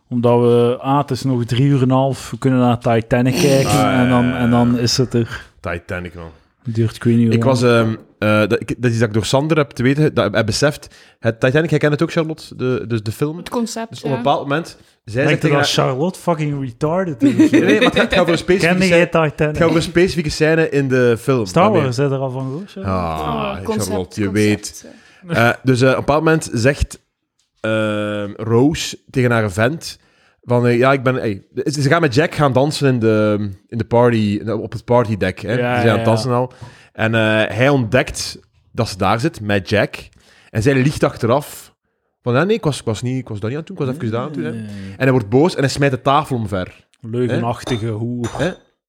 Speaker 1: Omdat we, ah, het is nog drie uur en een half, we kunnen naar Titanic kijken.
Speaker 2: Ah,
Speaker 1: en, dan,
Speaker 2: ja, ja,
Speaker 1: en dan is het er.
Speaker 2: Titanic, man.
Speaker 1: Duurt ik weet niet hoe
Speaker 2: Ik
Speaker 1: lang.
Speaker 2: was... ehm, eh, dat, ik- dat is dat ik door Sander heb te weten, dat, heb beseft. Het Titanic, jij kent het ook, Charlotte, de, dus de film.
Speaker 3: Het concept,
Speaker 2: Dus op
Speaker 3: ja.
Speaker 2: een bepaald moment... Zij
Speaker 1: Denk
Speaker 2: zegt
Speaker 1: je
Speaker 2: tegen
Speaker 1: dat
Speaker 2: haar...
Speaker 1: Charlotte fucking retarded is?
Speaker 2: Nee, nee, maar het gaat- het gaat
Speaker 1: Ken
Speaker 2: over een specifieke
Speaker 1: jij
Speaker 2: scène, het gaat
Speaker 1: Titanic?
Speaker 2: over een specifieke scène in de film.
Speaker 1: Star
Speaker 2: Waarmee-
Speaker 1: Wars, zit er al van gehoord? Charlotte?
Speaker 2: Ah,
Speaker 3: Oh, concept,
Speaker 2: Charlotte, je
Speaker 3: concept.
Speaker 2: weet. Eh, dus eh, op een bepaald moment zegt ehm, Rose tegen haar vent van eh, ja, ik ben. Hey, ze ze gaan met Jack gaan dansen in de, in de party, op het partydek. Hè?
Speaker 1: Ja,
Speaker 2: ze zijn
Speaker 1: ja,
Speaker 2: aan het
Speaker 1: ja.
Speaker 2: dansen al. En eh, hij ontdekt dat ze daar zit met Jack. En zij liegt achteraf van ja, nee, ik was, ik was, niet, ik was daar niet aan toe, ik was even daar aan toe. Hè?
Speaker 1: Nee.
Speaker 2: En hij wordt boos en hij smijt de tafel omver.
Speaker 1: Leugenachtige hoer.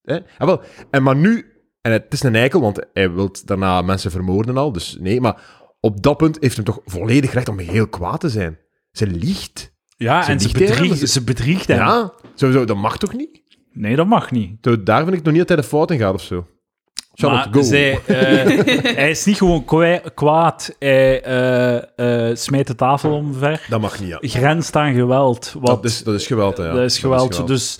Speaker 2: Hè? Ah, wel. En maar nu, en het is een eikel, want hij wil daarna mensen vermoorden al, dus nee, maar op dat punt heeft hem toch volledig recht om heel kwaad te zijn. Ze liegt.
Speaker 1: Ja,
Speaker 2: Ze
Speaker 1: en ze
Speaker 2: liegt tegen hem,
Speaker 1: bedriegt,
Speaker 2: ze-
Speaker 1: ze bedriegt hem.
Speaker 2: Ja, sowieso, dat mag toch niet?
Speaker 1: Nee, dat mag niet.
Speaker 2: Zo, Daar vind ik nog niet dat hij de fout in gaat of zo. Charlotte,
Speaker 1: Maar
Speaker 2: go.
Speaker 1: zij, eh, hij is niet gewoon kwa- kwaad. Hij eh, eh, smijt de tafel omver.
Speaker 2: Dat mag niet, ja.
Speaker 1: Grenst aan geweld. Wat,
Speaker 2: Dat is, dat is geweld, hè, ja.
Speaker 1: dat is geweld. Dus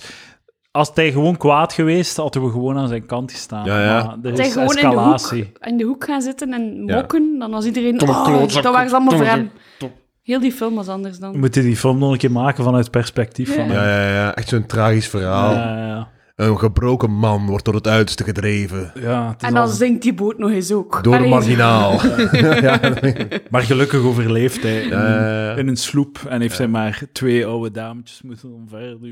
Speaker 1: als hij gewoon kwaad geweest, hadden we gewoon aan zijn kant gestaan.
Speaker 2: Ja, ja.
Speaker 1: Maar er
Speaker 3: Als hij
Speaker 1: is
Speaker 3: gewoon in de,
Speaker 1: escalatie.
Speaker 3: hoek, in de hoek gaan zitten en
Speaker 2: Ja.
Speaker 3: mokken, dan was iedereen...
Speaker 4: Domme
Speaker 3: oh,
Speaker 4: klootzak,
Speaker 3: dat waren ze allemaal voor
Speaker 4: domme
Speaker 3: hem. Heel die film was anders
Speaker 1: We
Speaker 3: dan.
Speaker 1: moeten die film nog een keer maken vanuit het perspectief van hem.
Speaker 2: Ja, ja, ja, echt zo'n tragisch verhaal.
Speaker 1: Ja, ja.
Speaker 2: Een gebroken man wordt tot het uiterste gedreven.
Speaker 1: Ja, het is
Speaker 3: En dan
Speaker 1: al-
Speaker 3: zingt die boot nog eens ook.
Speaker 2: Door een
Speaker 3: Allee,
Speaker 2: marginaal.
Speaker 1: Maar gelukkig overleeft hij in, een-
Speaker 2: Ja, ja, ja.
Speaker 1: in een sloep en heeft hij maar twee oude dametjes moeten omverduwen.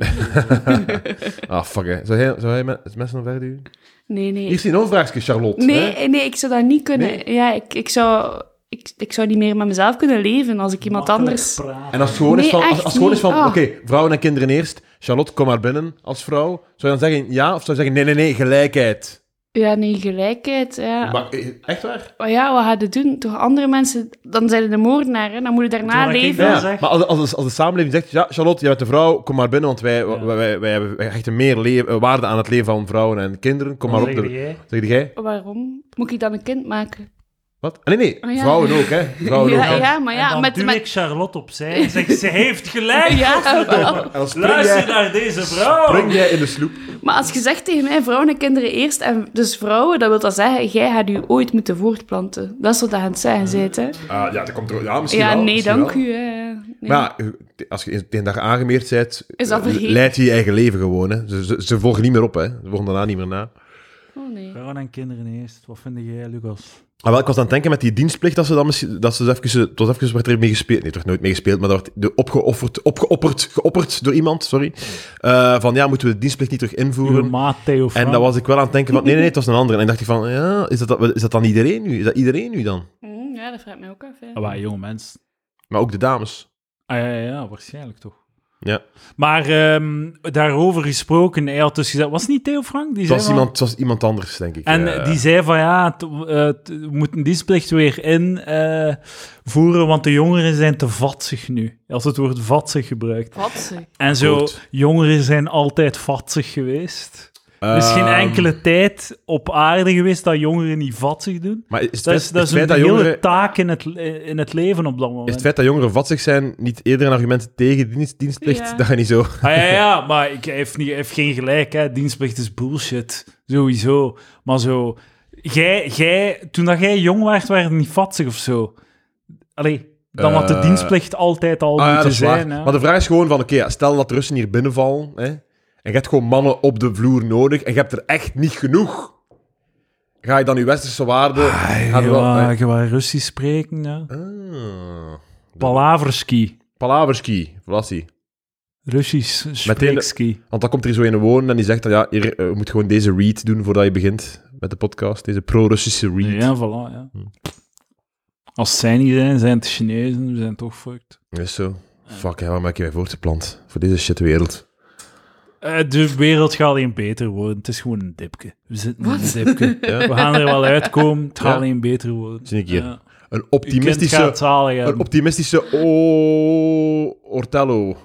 Speaker 2: Ah, fuck, hè. Zou hij, zou hij me- mensen nog verder duwen?
Speaker 3: Nee, nee.
Speaker 2: Hier is nog een vraagje, Charlotte. hè?
Speaker 3: Nee, nee, ik zou dat niet kunnen. Ja, ik, ik, zou, ik, ik zou niet meer met mezelf kunnen leven als ik iemand anders...
Speaker 2: En als het gewoon is
Speaker 3: Nee,
Speaker 2: van, als,
Speaker 3: echt
Speaker 2: als het gewoon is van
Speaker 3: niet. Ah.
Speaker 2: oké, vrouwen en kinderen eerst. Charlotte, kom maar binnen als vrouw. Zou je dan zeggen ja of zou je zeggen nee, nee, nee, gelijkheid?
Speaker 3: Ja, nee, gelijkheid. Ja.
Speaker 2: Maar, eh, echt waar?
Speaker 3: Maar ja, wat gaat het doen? Toch andere mensen... Dan zijn ze de moordenaar, hè? Dan moet je daarna
Speaker 1: Toen ik
Speaker 3: leven.
Speaker 1: dat
Speaker 2: Ja,
Speaker 1: zeg.
Speaker 2: Maar als, als, als de samenleving zegt, ja, Charlotte, je bent een vrouw, kom maar binnen, want wij, wij, wij, wij hebben echt een meer le- eh, waarde aan het leven van vrouwen en kinderen. Kom maar op. de- Zeg jij?
Speaker 3: Waarom? Moet ik dan een kind maken?
Speaker 2: Wat? Ah, Nee, nee,
Speaker 3: Oh, ja.
Speaker 2: vrouwen ook, hè. Vrouwen
Speaker 3: Ja,
Speaker 2: ook.
Speaker 3: ja, maar ja,
Speaker 1: dan
Speaker 3: met...
Speaker 1: duw
Speaker 3: met...
Speaker 1: ik Charlotte opzij en zeg, ze heeft gelijk.
Speaker 3: Ja, wel.
Speaker 2: En dan spring
Speaker 1: Luister
Speaker 5: nou.
Speaker 2: jij,
Speaker 1: naar deze vrouw.
Speaker 2: spring jij in de sloep.
Speaker 3: maar als je zegt tegen mij vrouwen en kinderen eerst, en dus vrouwen, dat wil dat zeggen, jij gaat je ooit moeten voortplanten. Dat is wat dat aan het zeggen bent, hè?
Speaker 2: Ah, ja, dat komt er, ja, misschien
Speaker 3: Ja,
Speaker 2: wel,
Speaker 3: nee,
Speaker 2: misschien
Speaker 3: dank
Speaker 2: wel.
Speaker 3: u. Hè. Nee.
Speaker 2: Maar ja, als je tegen dag aangemeerd bent,
Speaker 3: Is dat vergeten?
Speaker 2: leidt je je eigen leven gewoon. Hè. Ze, ze, ze volgen niet meer op, hè. ze volgen daarna niet meer na.
Speaker 3: Oh, nee.
Speaker 1: Vrouwen en kinderen eerst. Wat vind jij, Lucas?
Speaker 2: Ah, wel, ik was aan het denken met die dienstplicht, dat ze dan misschien, dat ze dus even, het was even, werd er mee gespeeld, nee, het werd nooit mee gespeeld, maar dat werd de- opgeofferd, opgeopperd, geopperd door iemand, sorry, Eh, van ja, moeten we de dienstplicht niet terug
Speaker 1: Uw
Speaker 2: invoeren?
Speaker 1: maat Theo Frank.
Speaker 2: En dan was ik wel aan het denken van, nee, nee, het was een andere. En dan dacht ik van, ja, is dat, dat- is dat dan iedereen nu? Is dat iedereen nu dan?
Speaker 3: Hm, Ja, dat vraagt mij ook af. hè.
Speaker 1: Ah, waar, jonge mens.
Speaker 2: Maar ook de dames.
Speaker 1: Ah, ja, ja, ja, waarschijnlijk toch.
Speaker 2: Ja.
Speaker 1: Maar ehm, daarover gesproken, hij had dus gezegd... Was het niet Theo Frank? Die
Speaker 2: Het
Speaker 1: zei
Speaker 2: was
Speaker 1: van-
Speaker 2: iemand, het was iemand anders, denk ik. Eh,
Speaker 1: En
Speaker 2: Ja.
Speaker 1: die zei van ja, het- eh, het- we moeten die plicht weer invoeren, want de jongeren zijn te vatsig nu. Als het woord vatsig gebruikt.
Speaker 3: Wat zeg.
Speaker 1: En zo,
Speaker 2: Goed.
Speaker 1: jongeren zijn altijd vatsig geweest. Er is geen
Speaker 2: Ehm,
Speaker 1: enkele tijd op aarde geweest dat jongeren niet vatsig doen.
Speaker 2: Maar is het,
Speaker 1: Dat
Speaker 2: feit-
Speaker 1: is, dat is
Speaker 2: het feit
Speaker 1: een
Speaker 2: dat
Speaker 1: hele
Speaker 2: jongeren...
Speaker 1: taak in het, le- in het leven op dat
Speaker 2: Is
Speaker 1: moment.
Speaker 2: het feit dat jongeren vatsig zijn niet eerder een argument tegen dienst, dienstplicht?
Speaker 3: Ja.
Speaker 2: Dat gaat niet zo.
Speaker 1: Ah, ja, ja, maar ik hij heeft, niet, hij heeft geen gelijk. Hè. Dienstplicht is bullshit. Sowieso. Maar zo... Jij, jij, toen dat jij jong werd, werd je niet vatsig of zo. Allee, dan had de
Speaker 2: Eh,
Speaker 1: dienstplicht altijd al
Speaker 2: Ah, ja,
Speaker 1: moeten
Speaker 2: dat is waar.
Speaker 1: zijn. hè.
Speaker 2: Maar de vraag is gewoon van, oké, ja, stel dat Russen hier binnenvallen, hè, en je hebt gewoon mannen op de vloer nodig, en je hebt er echt niet genoeg. Ga je dan je westerse waarden... ga
Speaker 1: Ah,
Speaker 2: je
Speaker 1: je
Speaker 2: wel- eh.
Speaker 1: wou-
Speaker 2: hè?
Speaker 1: je wou Russisch spreken. Hè.
Speaker 2: Ah.
Speaker 1: Palaverski.
Speaker 2: Palaverski, Vlassi.
Speaker 1: Russisch spreekski.
Speaker 2: Want dan komt er zo een wonen en die zegt dan, ja, hier, eh, je moet gewoon deze read doen voordat je begint met de podcast. Deze pro-Russische read.
Speaker 1: Ja, voilà. Ja.
Speaker 2: Hm.
Speaker 1: Als zij niet zijn, zijn het de Chinezen. We zijn toch fucked.
Speaker 2: Is zo. Fuck, hè, waarom heb je mij voortgeplant? Voor deze shitwereld.
Speaker 1: Eh, de wereld gaat alleen beter worden. Het is gewoon een dipje. We zitten in
Speaker 3: Wat?
Speaker 1: een dipje.
Speaker 2: Ja.
Speaker 1: We gaan er wel uitkomen. Het gaat
Speaker 2: Ja.
Speaker 1: alleen beter worden.
Speaker 2: Zie ik hier.
Speaker 1: Ja.
Speaker 2: Een
Speaker 1: Uw kind
Speaker 2: optimistische...
Speaker 1: gaat het zalig
Speaker 2: Een
Speaker 1: hebben.
Speaker 2: optimistische O. Ortello.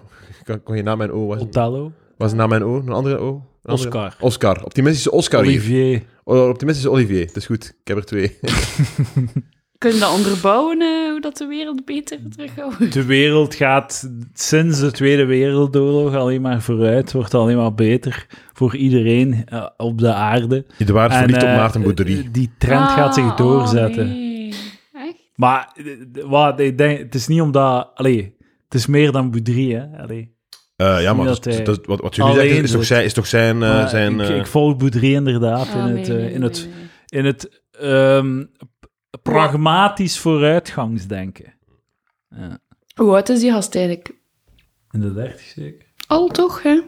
Speaker 2: Kan, kon je na mijn O was?
Speaker 1: Otello.
Speaker 2: Was het na mijn O? Een andere O? Een andere?
Speaker 1: Oscar.
Speaker 2: Oscar. Optimistische Oscar hier.
Speaker 1: Olivier.
Speaker 2: O- Optimistische Olivier. Het is goed. Ik heb er twee.
Speaker 3: Kunnen we dat onderbouwen, eh, hoe dat de wereld beter terughouden?
Speaker 1: De wereld gaat sinds de Tweede Wereldoorlog alleen maar vooruit, wordt alleen maar beter voor iedereen eh, op de aarde.
Speaker 2: De waard verliefd op
Speaker 1: eh,
Speaker 2: Maarten Bouderie.
Speaker 1: Die trend gaat zich doorzetten.
Speaker 3: Ah, oh, Echt?
Speaker 1: Maar eh, d- wat, ik denk, het is niet omdat... Allee, het is meer dan Boudry, hè. Allee.
Speaker 2: Eh, ja, maar
Speaker 1: dat
Speaker 2: dat is-
Speaker 1: hij
Speaker 2: dat is- wat, wat jullie
Speaker 1: alleen
Speaker 2: zeggen is toch
Speaker 1: doet.
Speaker 2: zijn... Is toch zijn, eh,
Speaker 1: Maar
Speaker 2: zijn
Speaker 1: ik,
Speaker 2: eh,
Speaker 1: ik volg Boudry inderdaad
Speaker 3: Ah,
Speaker 1: in
Speaker 3: nee,
Speaker 1: het, eh,
Speaker 3: nee,
Speaker 1: in het,
Speaker 3: nee, nee.
Speaker 1: in het ehm, p- pragmatisch vooruitgangsdenken. Ja,
Speaker 3: Hoe oud is die gast eigenlijk?
Speaker 1: in de dertig zeker.
Speaker 3: Al toch, hè?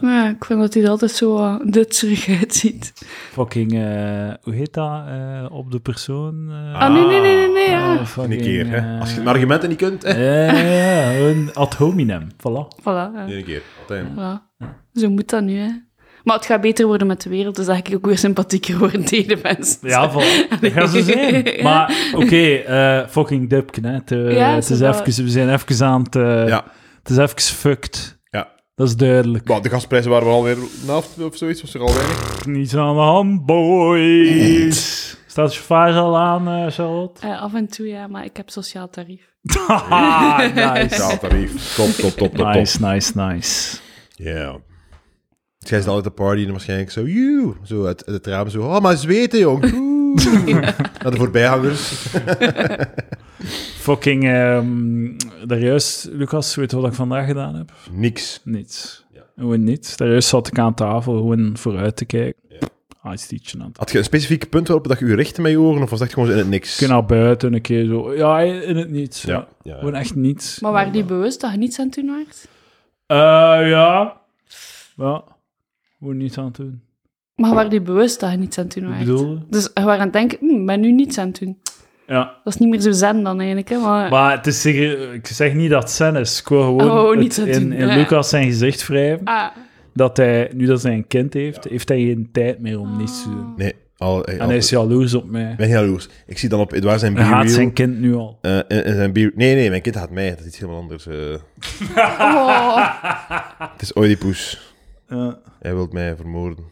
Speaker 3: Ja, ik vind dat hij er altijd zo eh, dutserig uitziet.
Speaker 1: Fucking, eh, hoe heet dat? eh, op de persoon? eh,
Speaker 3: Ah, nee, nee, nee, nee, nee, ja.
Speaker 1: eh,
Speaker 2: Een
Speaker 1: fucking,
Speaker 2: keer, hè.
Speaker 1: eh,
Speaker 2: Als je mijn argumenten niet kunt, hè.
Speaker 1: Ja, ja, ja, een ad hominem. Voilà.
Speaker 3: Voilà, ja.
Speaker 2: Eén keer. Altijd.
Speaker 3: voilà. Zo moet dat nu, hè. Maar het gaat beter worden met de wereld, dus dat ik ook weer sympathieker worden tegen de mensen.
Speaker 1: Ja, voilà. Dat gaan ze zijn.
Speaker 3: Ja.
Speaker 1: Maar oké, eh, fucking dubken. Hè. Het, eh,
Speaker 3: Ja,
Speaker 1: het is
Speaker 3: zo wel.
Speaker 1: even, we zijn even aan het... eh,
Speaker 2: Ja.
Speaker 1: Het is even fucked.
Speaker 2: Ja.
Speaker 1: Dat is duidelijk.
Speaker 2: Maar de gasprijzen waren we alweer een helft of zoiets. Was er al weinig.
Speaker 1: Niets aan de hand, boys. Staat de chauffage al aan, eh, Charlotte?
Speaker 3: Eh, af en toe, ja, maar ik heb sociaal tarief.
Speaker 1: Haha, Ah, nice.
Speaker 2: Ja, tarief. Top, top, top, top, top.
Speaker 1: Nice, nice, nice.
Speaker 2: Ja. Dus jij zit altijd op de party en waarschijnlijk zo, joe, zo uit, uit het raam zo, oh, maar zweten, jong. Oeh. Naar de voorbijgangers.
Speaker 1: Fucking, ehm daar juist, Lucas, weet je wat ik vandaag gedaan heb?
Speaker 2: Niks.
Speaker 1: Niets. Gewoon niets. Daar juist zat ik aan tafel gewoon vooruit te kijken.
Speaker 2: Ja.
Speaker 1: Ja. Ah, is het ietsje aan het
Speaker 2: Had je een specifiek punt waarop dat je je richtte met je oren, of was dat gewoon zo in het niks?
Speaker 1: Ik naar buiten een keer zo. Ja, in het niets. Ja.
Speaker 2: Ja. ja.
Speaker 1: Gewoon echt niets.
Speaker 3: Maar waren die bewust dat je niets aan het doen waart?
Speaker 1: Eh, ja. Ja. Gewoon niets aan het doen.
Speaker 3: Maar waren die bewust dat je niets aan het doen
Speaker 1: Wat
Speaker 3: waart?
Speaker 1: bedoel je?
Speaker 3: Dus je waren aan het denken, hm, ik ben nu niets aan het doen.
Speaker 1: Ja.
Speaker 3: Dat is niet meer zo zen dan eigenlijk, hè. Maar,
Speaker 1: Maar het is zeker, ik zeg niet dat het zen is. Ik wil gewoon
Speaker 3: Oh,
Speaker 1: het
Speaker 3: niets aan het
Speaker 1: in,
Speaker 3: doen.
Speaker 1: in
Speaker 3: Ja.
Speaker 1: Lucas zijn gezicht wrijven.
Speaker 3: ah,
Speaker 1: Dat hij, nu dat hij een kind heeft, heeft hij geen tijd meer om niets te
Speaker 3: Ah.
Speaker 1: doen.
Speaker 2: Nee, al, eh,
Speaker 1: En hij is jaloers op mij.
Speaker 2: ik ben jaloers. Ik zie dan op Edouard zijn
Speaker 1: Ah, Hij haat
Speaker 2: b-reel.
Speaker 1: zijn kind nu al.
Speaker 2: eh, en- en zijn b- Nee, nee, mijn kind haat mij. Dat is iets helemaal anders. eh.
Speaker 3: Oh.
Speaker 2: Het is Oedipus.
Speaker 1: Ja.
Speaker 2: Hij wil mij vermoorden.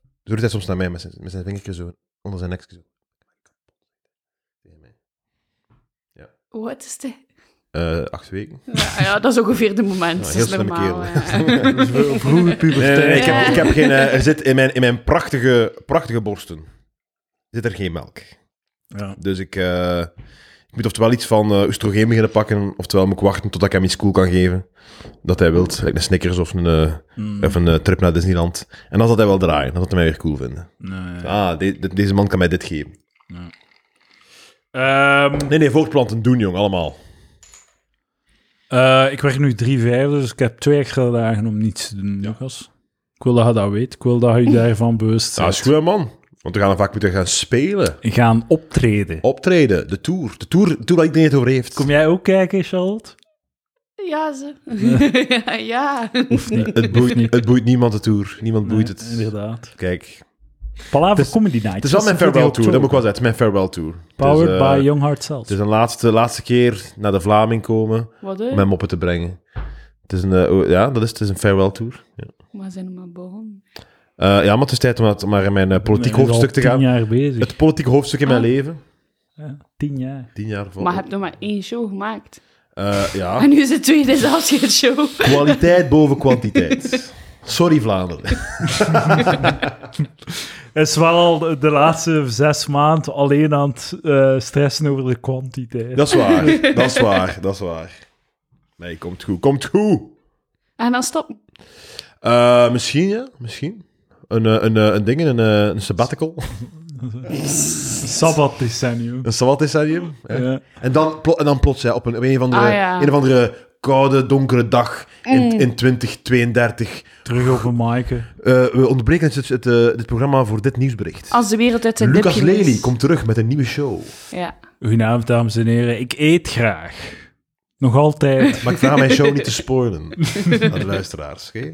Speaker 2: Zo doet hij soms naar mij met zijn, met zijn vingertje zo, onder zijn nekje zo. Tegen mij.
Speaker 3: wat is dit?
Speaker 2: Eh, acht weken.
Speaker 3: Ja, ja, dat is ongeveer de moment.
Speaker 2: Ja,
Speaker 3: dat
Speaker 2: heel
Speaker 3: is
Speaker 2: slimme kerel.
Speaker 3: normaal, hè.
Speaker 2: Eh,
Speaker 1: Vroege
Speaker 2: Nee,
Speaker 1: puberteit.
Speaker 2: nee, nee, ik,
Speaker 3: Ja.
Speaker 2: heb, ik heb geen. eh, er zit in mijn, in mijn prachtige, prachtige borsten zit er geen melk.
Speaker 1: Ja.
Speaker 2: Dus ik, eh, ik moet oftewel iets van eh oestrogeen beginnen pakken, oftewel moet ik wachten tot ik hem iets cool kan geven dat hij wilt. Like een Snickers of een, eh,
Speaker 1: Mm,
Speaker 2: of een eh, trip naar Disneyland. En dan zal hij wel draaien, dan zal hij mij weer cool vinden.
Speaker 1: nee.
Speaker 2: Ah, de- de- deze man kan mij dit geven.
Speaker 1: Ehm,
Speaker 2: Nee, nee, voortplanten doen, jong, allemaal.
Speaker 1: Eh, ik werk nu drie vijfde, dus ik heb twee extra dagen om niets te doen, Lucas. Ik wil dat je dat weet. Ik wil dat je je daarvan bewust
Speaker 2: Ah,
Speaker 1: bent.
Speaker 2: is goed, man. Want we gaan dan vaak moeten gaan spelen,
Speaker 1: Gaan optreden.
Speaker 2: optreden, de tour. De tour, de tour waar iedereen het over heeft.
Speaker 1: Kom jij ook kijken, Charlotte?
Speaker 3: Ja, ze. ja. ja.
Speaker 1: Of niet?
Speaker 2: Het boeit, het boeit niemand de tour. Niemand boeit
Speaker 1: Nee,
Speaker 2: het.
Speaker 1: Inderdaad.
Speaker 2: Kijk,
Speaker 1: Palaver
Speaker 2: Het is-
Speaker 1: Comedy Night.
Speaker 2: Het is wel mijn farewell tour, dat moet ik wel
Speaker 1: was.
Speaker 2: zeggen. Het is mijn farewell tour.
Speaker 1: Powered
Speaker 2: het is, eh,
Speaker 1: by Young Heart Cells.
Speaker 2: Het is een laatste, laatste keer naar de Vlaming komen
Speaker 3: Wat
Speaker 2: om
Speaker 3: hè?
Speaker 2: mijn moppen te brengen. Het is een, eh, oh, ja, dat is, het is een farewell tour. Ja,
Speaker 3: Maar zijn we maar begonnen.
Speaker 2: Eh, ja maar het is tijd om, dat- om maar in mijn eh, politiek
Speaker 1: Ik ben al
Speaker 2: hoofdstuk te gaan.
Speaker 1: tien jaar bezig.
Speaker 2: Het politieke hoofdstuk in mijn
Speaker 3: Ah.
Speaker 2: leven.
Speaker 1: Ja, tien jaar.
Speaker 2: Tien jaar voor.
Speaker 3: Maar je hebt nog maar één show gemaakt.
Speaker 2: Eh, ja,
Speaker 3: En nu is het tweede is afscheidsshow.
Speaker 2: kwaliteit boven kwantiteit. Sorry Vlaanderen.
Speaker 1: Het is wel al de- de laatste zes maanden alleen aan het eh, stressen over de kwantiteit.
Speaker 2: Dat is waar, dat is waar, dat is waar. Nee, komt goed, komt goed.
Speaker 3: En dan stop.
Speaker 2: Eh, misschien, ja, misschien. Een, eh, een, eh, een ding, een, eh, een sabbatical.
Speaker 1: Sabbat decennium.
Speaker 2: Een sabbatisarium. Ja.
Speaker 1: Ja.
Speaker 2: En dan, plo- en dan plots, hè, op een, op een, of andere,
Speaker 3: Ah, ja. Mm.
Speaker 2: een of andere koude, donkere dag in, in 2032.
Speaker 1: Terug over Maaike.
Speaker 2: eh, we ontbreken het, het, eh, dit programma voor dit nieuwsbericht.
Speaker 3: Als Ah, de wereld uit zijn
Speaker 2: Lucas
Speaker 3: dipje is.
Speaker 2: Lely komt terug met een nieuwe show.
Speaker 3: Ja.
Speaker 1: Goedenavond, dames en heren. Ik eet graag. Nog altijd.
Speaker 2: Maar ik vraag mijn show niet te spoilen aan de luisteraars. oké?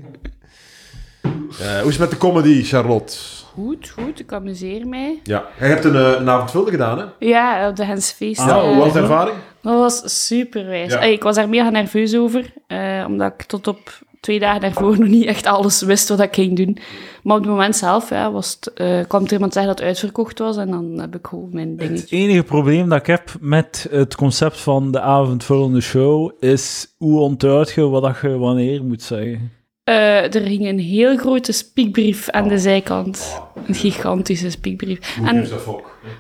Speaker 2: Eh, hoe is het met de comedy, Charlotte?
Speaker 3: Goed, goed. Ik amuseer mij.
Speaker 2: Ja. Jij hebt een, eh, een avondvulde gedaan, hè?
Speaker 3: Ja, op de Hensfeest.
Speaker 1: Ah,
Speaker 2: Ja,
Speaker 3: eh,
Speaker 2: hoe was de ervaring?
Speaker 3: Dat was superwijs.
Speaker 2: Ja.
Speaker 3: Ey, ik was daar mega nerveus over, eh, omdat ik tot op twee dagen daarvoor nog niet echt alles wist wat ik ging doen. Maar op het moment zelf ja, was het, eh, kwam er iemand zeggen dat het uitverkocht was en dan heb ik gewoon mijn
Speaker 5: Het
Speaker 3: dingetje.
Speaker 5: enige probleem dat ik heb met het concept van de avondvullende show is hoe onthoud je wat dat je wanneer moet zeggen.
Speaker 3: Eh, er hing een heel grote spiekbrief aan de zijkant. Een gigantische spiekbrief. En,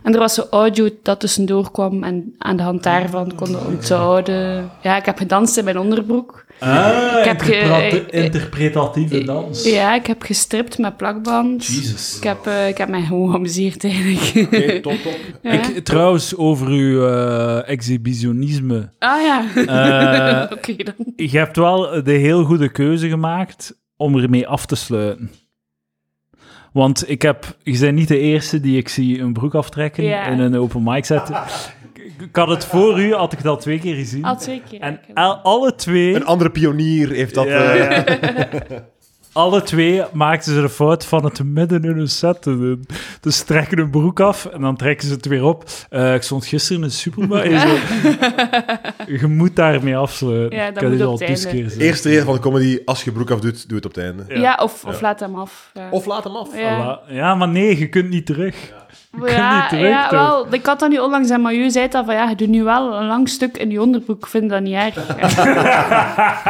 Speaker 3: en er was zo audio dat tussendoor kwam en aan de hand daarvan konden onthouden. Ja, ik heb gedanst in mijn onderbroek.
Speaker 5: Ah,
Speaker 3: Ik heb ge-
Speaker 5: interpreta-
Speaker 3: eh, eh,
Speaker 5: interpretatieve dans.
Speaker 3: Ja, ik heb gestript met plakband. Ik heb, eh, ik heb mij gewoon geamuseerd eigenlijk.
Speaker 2: top, top.
Speaker 3: Ja.
Speaker 5: Ik, trouwens, over uw eh, exhibitionisme.
Speaker 3: Ah ja.
Speaker 5: Eh,
Speaker 3: Oké dan.
Speaker 5: Je hebt wel de heel goede keuze gemaakt om ermee af te sluiten. Want ik heb, je bent niet de eerste die ik zie een broek aftrekken
Speaker 3: Ja.
Speaker 5: in een open mic zetten. Ik- Ik had het voor u, had ik het al twee keer gezien.
Speaker 3: Al twee keer.
Speaker 5: En
Speaker 3: eigenlijk.
Speaker 5: al- alle twee,
Speaker 2: Een andere pionier heeft dat...
Speaker 5: Ja.
Speaker 2: eh,
Speaker 5: alle twee maakten ze de fout van het midden in hun set te doen. Dus ze trekken hun broek af en dan trekken ze het weer op. Eh, ik stond gisteren in een supermarkt. en zo, je moet daarmee afsluiten.
Speaker 3: Ja,
Speaker 5: ik
Speaker 3: dat
Speaker 5: heb
Speaker 3: moet
Speaker 5: dit
Speaker 3: op
Speaker 5: al
Speaker 3: het
Speaker 5: tien
Speaker 3: einde.
Speaker 5: keer gezegd.
Speaker 2: Eerste regel van de comedy, als je broek af doet, doe het op het einde.
Speaker 5: Ja.
Speaker 3: ja. of, of laat hem af. Ja.
Speaker 2: laat hem af.
Speaker 3: ja.
Speaker 5: Voilà. Ja, maar nee, je kunt niet terug.
Speaker 3: Maar
Speaker 5: kan
Speaker 3: ja,
Speaker 5: niet terug,
Speaker 3: ja,
Speaker 5: toch?
Speaker 3: wel. Ik had dat nu onlangs aan Mayu zei dat van ja, je doet nu wel een lang stuk in je onderbroek. Ik vind dat niet erg. Ja.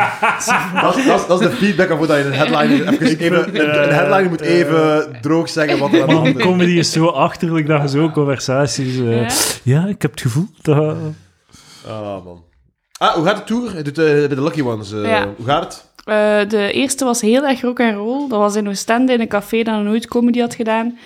Speaker 2: Dat, is- dat, is- dat is de feedback waarvoor dat je een headliner... Even, even, een headliner moet even droog zeggen wat er aan de
Speaker 5: Maar
Speaker 2: hand
Speaker 5: een
Speaker 2: is.
Speaker 5: comedy is zo achterlijk dat je zo conversaties... eh,
Speaker 3: Ja.
Speaker 5: ja? ik heb het gevoel dat...
Speaker 2: Ah, man. Ah, hoe gaat de tour? Je doet eh, bij de Lucky Ones. eh,
Speaker 3: Ja.
Speaker 2: Hoe gaat het?
Speaker 3: Eh, de eerste was heel erg rock en roll. Dat was in Oostende in een café dat nog nooit comedy had gedaan.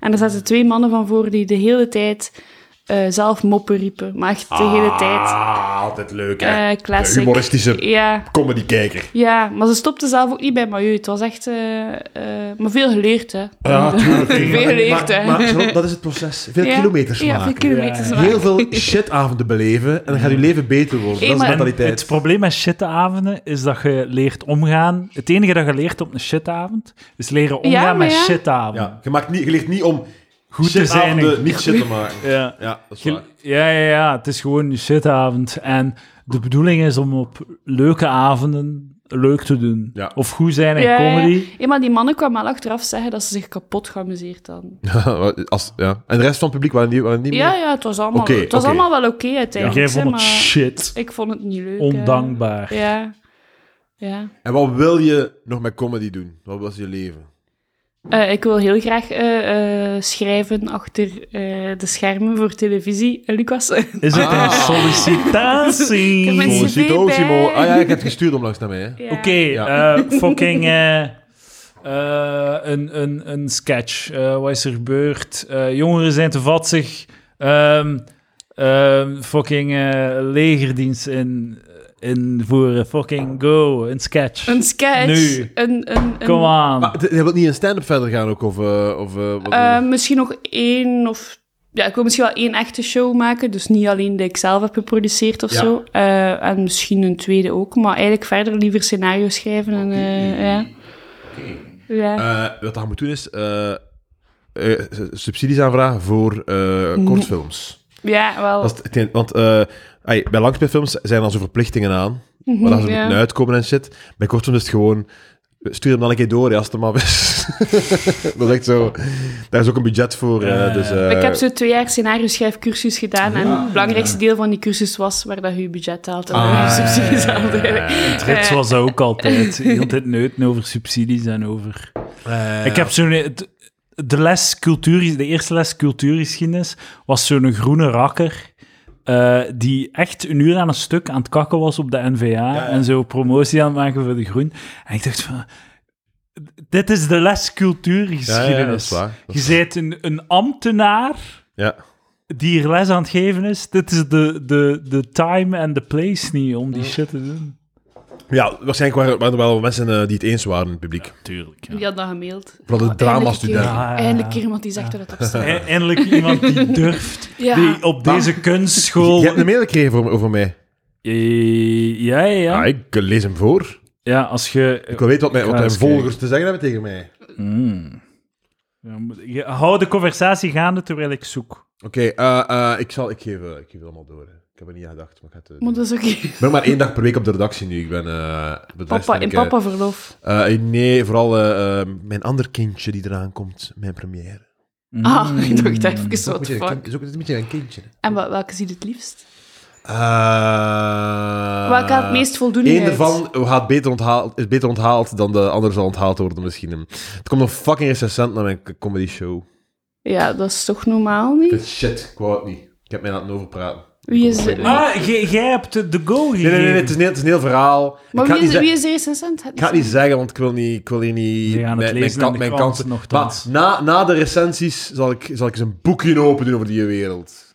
Speaker 3: En daar zaten twee mannen van voor die de hele tijd eh, zelf moppen riepen. Maar echt de hele tijd.
Speaker 2: Ah, altijd leuk, hè?
Speaker 3: Eh
Speaker 2: De
Speaker 3: classic.
Speaker 2: humoristische
Speaker 3: Ja,
Speaker 2: comedy-kijker.
Speaker 3: ja, maar ze stopte zelf ook niet bij Mayu. Het was echt... eh, eh, maar veel geleerd, hè.
Speaker 2: Ja, Ah, tuurlijk.
Speaker 3: Veel geleerd, hè.
Speaker 2: Maar, maar Charlotte, dat is het proces. Veel
Speaker 3: Ja.
Speaker 2: kilometers
Speaker 3: Ja,
Speaker 2: maken.
Speaker 3: veel kilometers
Speaker 5: Ja.
Speaker 3: maken.
Speaker 2: Heel veel shitavonden beleven en dan gaat je leven beter worden.
Speaker 3: Hey,
Speaker 2: dat is de
Speaker 3: maar-
Speaker 5: En het
Speaker 2: mentaliteit.
Speaker 5: probleem met shitavonden is dat je leert omgaan... Het enige dat je leert op een shitavond is leren omgaan
Speaker 3: maar
Speaker 5: met
Speaker 3: ja.
Speaker 5: shitavonden.
Speaker 2: Ja, je, maakt niet, je ligt niet om
Speaker 5: Goed te zijn.
Speaker 2: shitavonden
Speaker 5: in-
Speaker 2: niet shit te maken.
Speaker 5: Ja.
Speaker 2: Ja, dat is
Speaker 5: Ge-
Speaker 2: waar.
Speaker 5: Ja, ja, ja, het is gewoon een shitavond. En de bedoeling is om op leuke avonden leuk te doen.
Speaker 2: Ja.
Speaker 5: Of goed zijn in
Speaker 3: Ja,
Speaker 5: comedy.
Speaker 3: ja. Ja, maar die mannen kwamen wel achteraf zeggen dat ze zich kapot geamuseerd hadden.
Speaker 2: Als, ja. En de rest van het publiek waren die, waren die
Speaker 3: Ja,
Speaker 2: mee?
Speaker 3: ja, het was allemaal,
Speaker 2: Oké,
Speaker 3: het was
Speaker 2: oké.
Speaker 3: allemaal wel oké
Speaker 5: En
Speaker 3: uiteindelijk.
Speaker 5: jij
Speaker 3: hè,
Speaker 5: vond het
Speaker 3: maar
Speaker 5: shit.
Speaker 3: Ik vond het niet leuk. hè.
Speaker 5: Ondankbaar.
Speaker 3: Ja. ja.
Speaker 2: En wat wil je nog met comedy doen? Wat was je leven?
Speaker 3: Eh, ik wil heel graag eh, eh, schrijven achter eh, de schermen voor televisie, eh, Lucas.
Speaker 5: Is het
Speaker 2: Ah.
Speaker 5: een sollicitatie?
Speaker 3: Ik heb mensen-
Speaker 5: Oké,
Speaker 3: CV
Speaker 2: Sito,
Speaker 3: bij.
Speaker 2: Simo. Ah ja, ik heb het gestuurd onlangs naar mij. Hè.
Speaker 3: Ja.
Speaker 5: eh, fucking... eh, eh, een, een, een sketch. Eh, wat is er gebeurd? Eh, jongeren zijn te vatzig. Ehm, ehm, fucking eh, legerdienst in, invoeren. Fucking go. Een sketch.
Speaker 3: Een sketch.
Speaker 5: Nu.
Speaker 3: Een, een, een,
Speaker 5: Kom aan.
Speaker 2: Maar d- je wilt niet in stand-up verder gaan ook? Of, eh, of, eh, wat-
Speaker 3: Eh, misschien nog één of... Ja, ik wil misschien wel één echte show maken. Dus niet alleen die ik zelf heb geproduceerd of
Speaker 2: Ja.
Speaker 3: zo. Eh, en misschien een tweede ook. Maar eigenlijk verder liever scenario schrijven. En, eh, ja. Ja.
Speaker 2: Eh, wat dat moet doen is eh, eh, s- subsidies aanvragen voor eh, kortfilms.
Speaker 3: ja, wel.
Speaker 2: Dat is het hetgeen- want eh, ai, bij langspeelfilms zijn al zo verplichtingen aan,
Speaker 3: Mhm,
Speaker 2: waar dat ze
Speaker 3: ja.
Speaker 2: moeten uitkomen en shit. Bij kortfilms is het gewoon, stuur hem dan een keer door ja, als het er maar is. dat is echt zo, daar is ook een budget voor. eh,
Speaker 5: Ja.
Speaker 2: dus, eh,
Speaker 3: Maar ik heb zo twee jaar scenario schrijfcursus gedaan. En het belangrijkste deel van die cursus was waar dat je je budget haalt. En waar je subsidies haalt.
Speaker 5: Trits
Speaker 3: Eh,
Speaker 5: was dat ook altijd. Heel dit neuten over subsidies en over... ik heb zo'n... het- De, les cultuur, de eerste les cultuurgeschiedenis was zo'n groene rakker eh, die echt een uur aan een stuk aan het kakken was op de NVA en zo promotie aan het maken voor de groen. En ik dacht van... Dit is de les
Speaker 2: ja,
Speaker 5: cultuurgeschiedenis.
Speaker 2: ja, dat is waar. Dat
Speaker 5: Je
Speaker 2: is-
Speaker 5: bent een, een ambtenaar
Speaker 2: ja.
Speaker 5: die hier les aan het geven is. Dit is de, de, de time en de place niet om die shit te doen.
Speaker 2: ja, waarschijnlijk waren, waren er wel mensen eh, die het eens waren in het publiek.
Speaker 5: Tuurlijk,
Speaker 3: Die had dat gemaild.
Speaker 2: Vooral de
Speaker 3: Oh,
Speaker 2: drama-studenten.
Speaker 3: eindelijk een keer-
Speaker 5: Ja.
Speaker 3: Eindelijk een keer iemand die zegt dat het op staat.
Speaker 5: E- Eindelijk iemand die durft,
Speaker 3: Ja.
Speaker 5: die op deze
Speaker 2: Je,
Speaker 5: kunstschool...
Speaker 2: je hebt een mail gekregen voor, over mij.
Speaker 5: Eh, Ja, ja,
Speaker 2: Ja,
Speaker 5: ja.
Speaker 2: ik eh, lees hem voor.
Speaker 5: Ja, als je...
Speaker 2: Ik wil weten wat mijn, wat
Speaker 5: ga
Speaker 2: mijn
Speaker 5: eens kijken.
Speaker 2: volgers te zeggen hebben tegen mij.
Speaker 5: Mm. Ja, moet- je- Hou de conversatie gaande terwijl ik zoek.
Speaker 2: Oké, eh, eh, ik zal... Ik geef, eh, ik geef het allemaal door. hè. Ik heb er niet aan gedacht, maar ik ga het eh,
Speaker 3: Maar
Speaker 2: doen.
Speaker 3: dat is oké.
Speaker 2: Ik ben maar één dag per week op de redactie nu. Ik ben... eh, voor de rest
Speaker 3: Papa,
Speaker 2: ben
Speaker 3: in
Speaker 2: ik, eh,
Speaker 3: papa verlof.
Speaker 2: eh, nee, vooral eh, eh, mijn ander kindje die eraan komt, mijn première.
Speaker 3: Ah, ik dacht
Speaker 5: Mm.
Speaker 3: even, what
Speaker 2: Hmm. Moet
Speaker 3: the
Speaker 2: je een
Speaker 3: fuck.
Speaker 2: kind- is ook een beetje een kindje. hè.
Speaker 3: En wel- welke zie je het liefst?
Speaker 2: Eh,
Speaker 3: welke had het meest voldoening
Speaker 2: Eén
Speaker 3: uit?
Speaker 2: ervan gaat beter onthaald, is beter onthaald dan de ander zal onthaald worden misschien. Er komt een fucking recensent naar mijn comedy show.
Speaker 3: Ja, dat is toch normaal niet?
Speaker 2: Shit, ik wou het niet. Ik heb mij laten overpraten.
Speaker 3: Wie is de...
Speaker 5: Ah, jij jij hebt de- de go gegeven.
Speaker 2: Nee, nee, nee, nee, het is een heel, het is een heel verhaal.
Speaker 3: Maar
Speaker 2: ik ga
Speaker 3: wie
Speaker 2: het niet,
Speaker 3: is,
Speaker 2: ze-
Speaker 3: wie is de recensent?
Speaker 2: ik ga het niet zeggen, want ik wil, niet, ik wil hier niet...
Speaker 5: We gaan het
Speaker 2: mijn- mijn,
Speaker 5: lezen in de
Speaker 2: mijn
Speaker 5: krant,
Speaker 2: kansen.
Speaker 5: nochtans.
Speaker 2: Maar na, na de recensies zal ik, zal ik eens een boekje open doen over die wereld.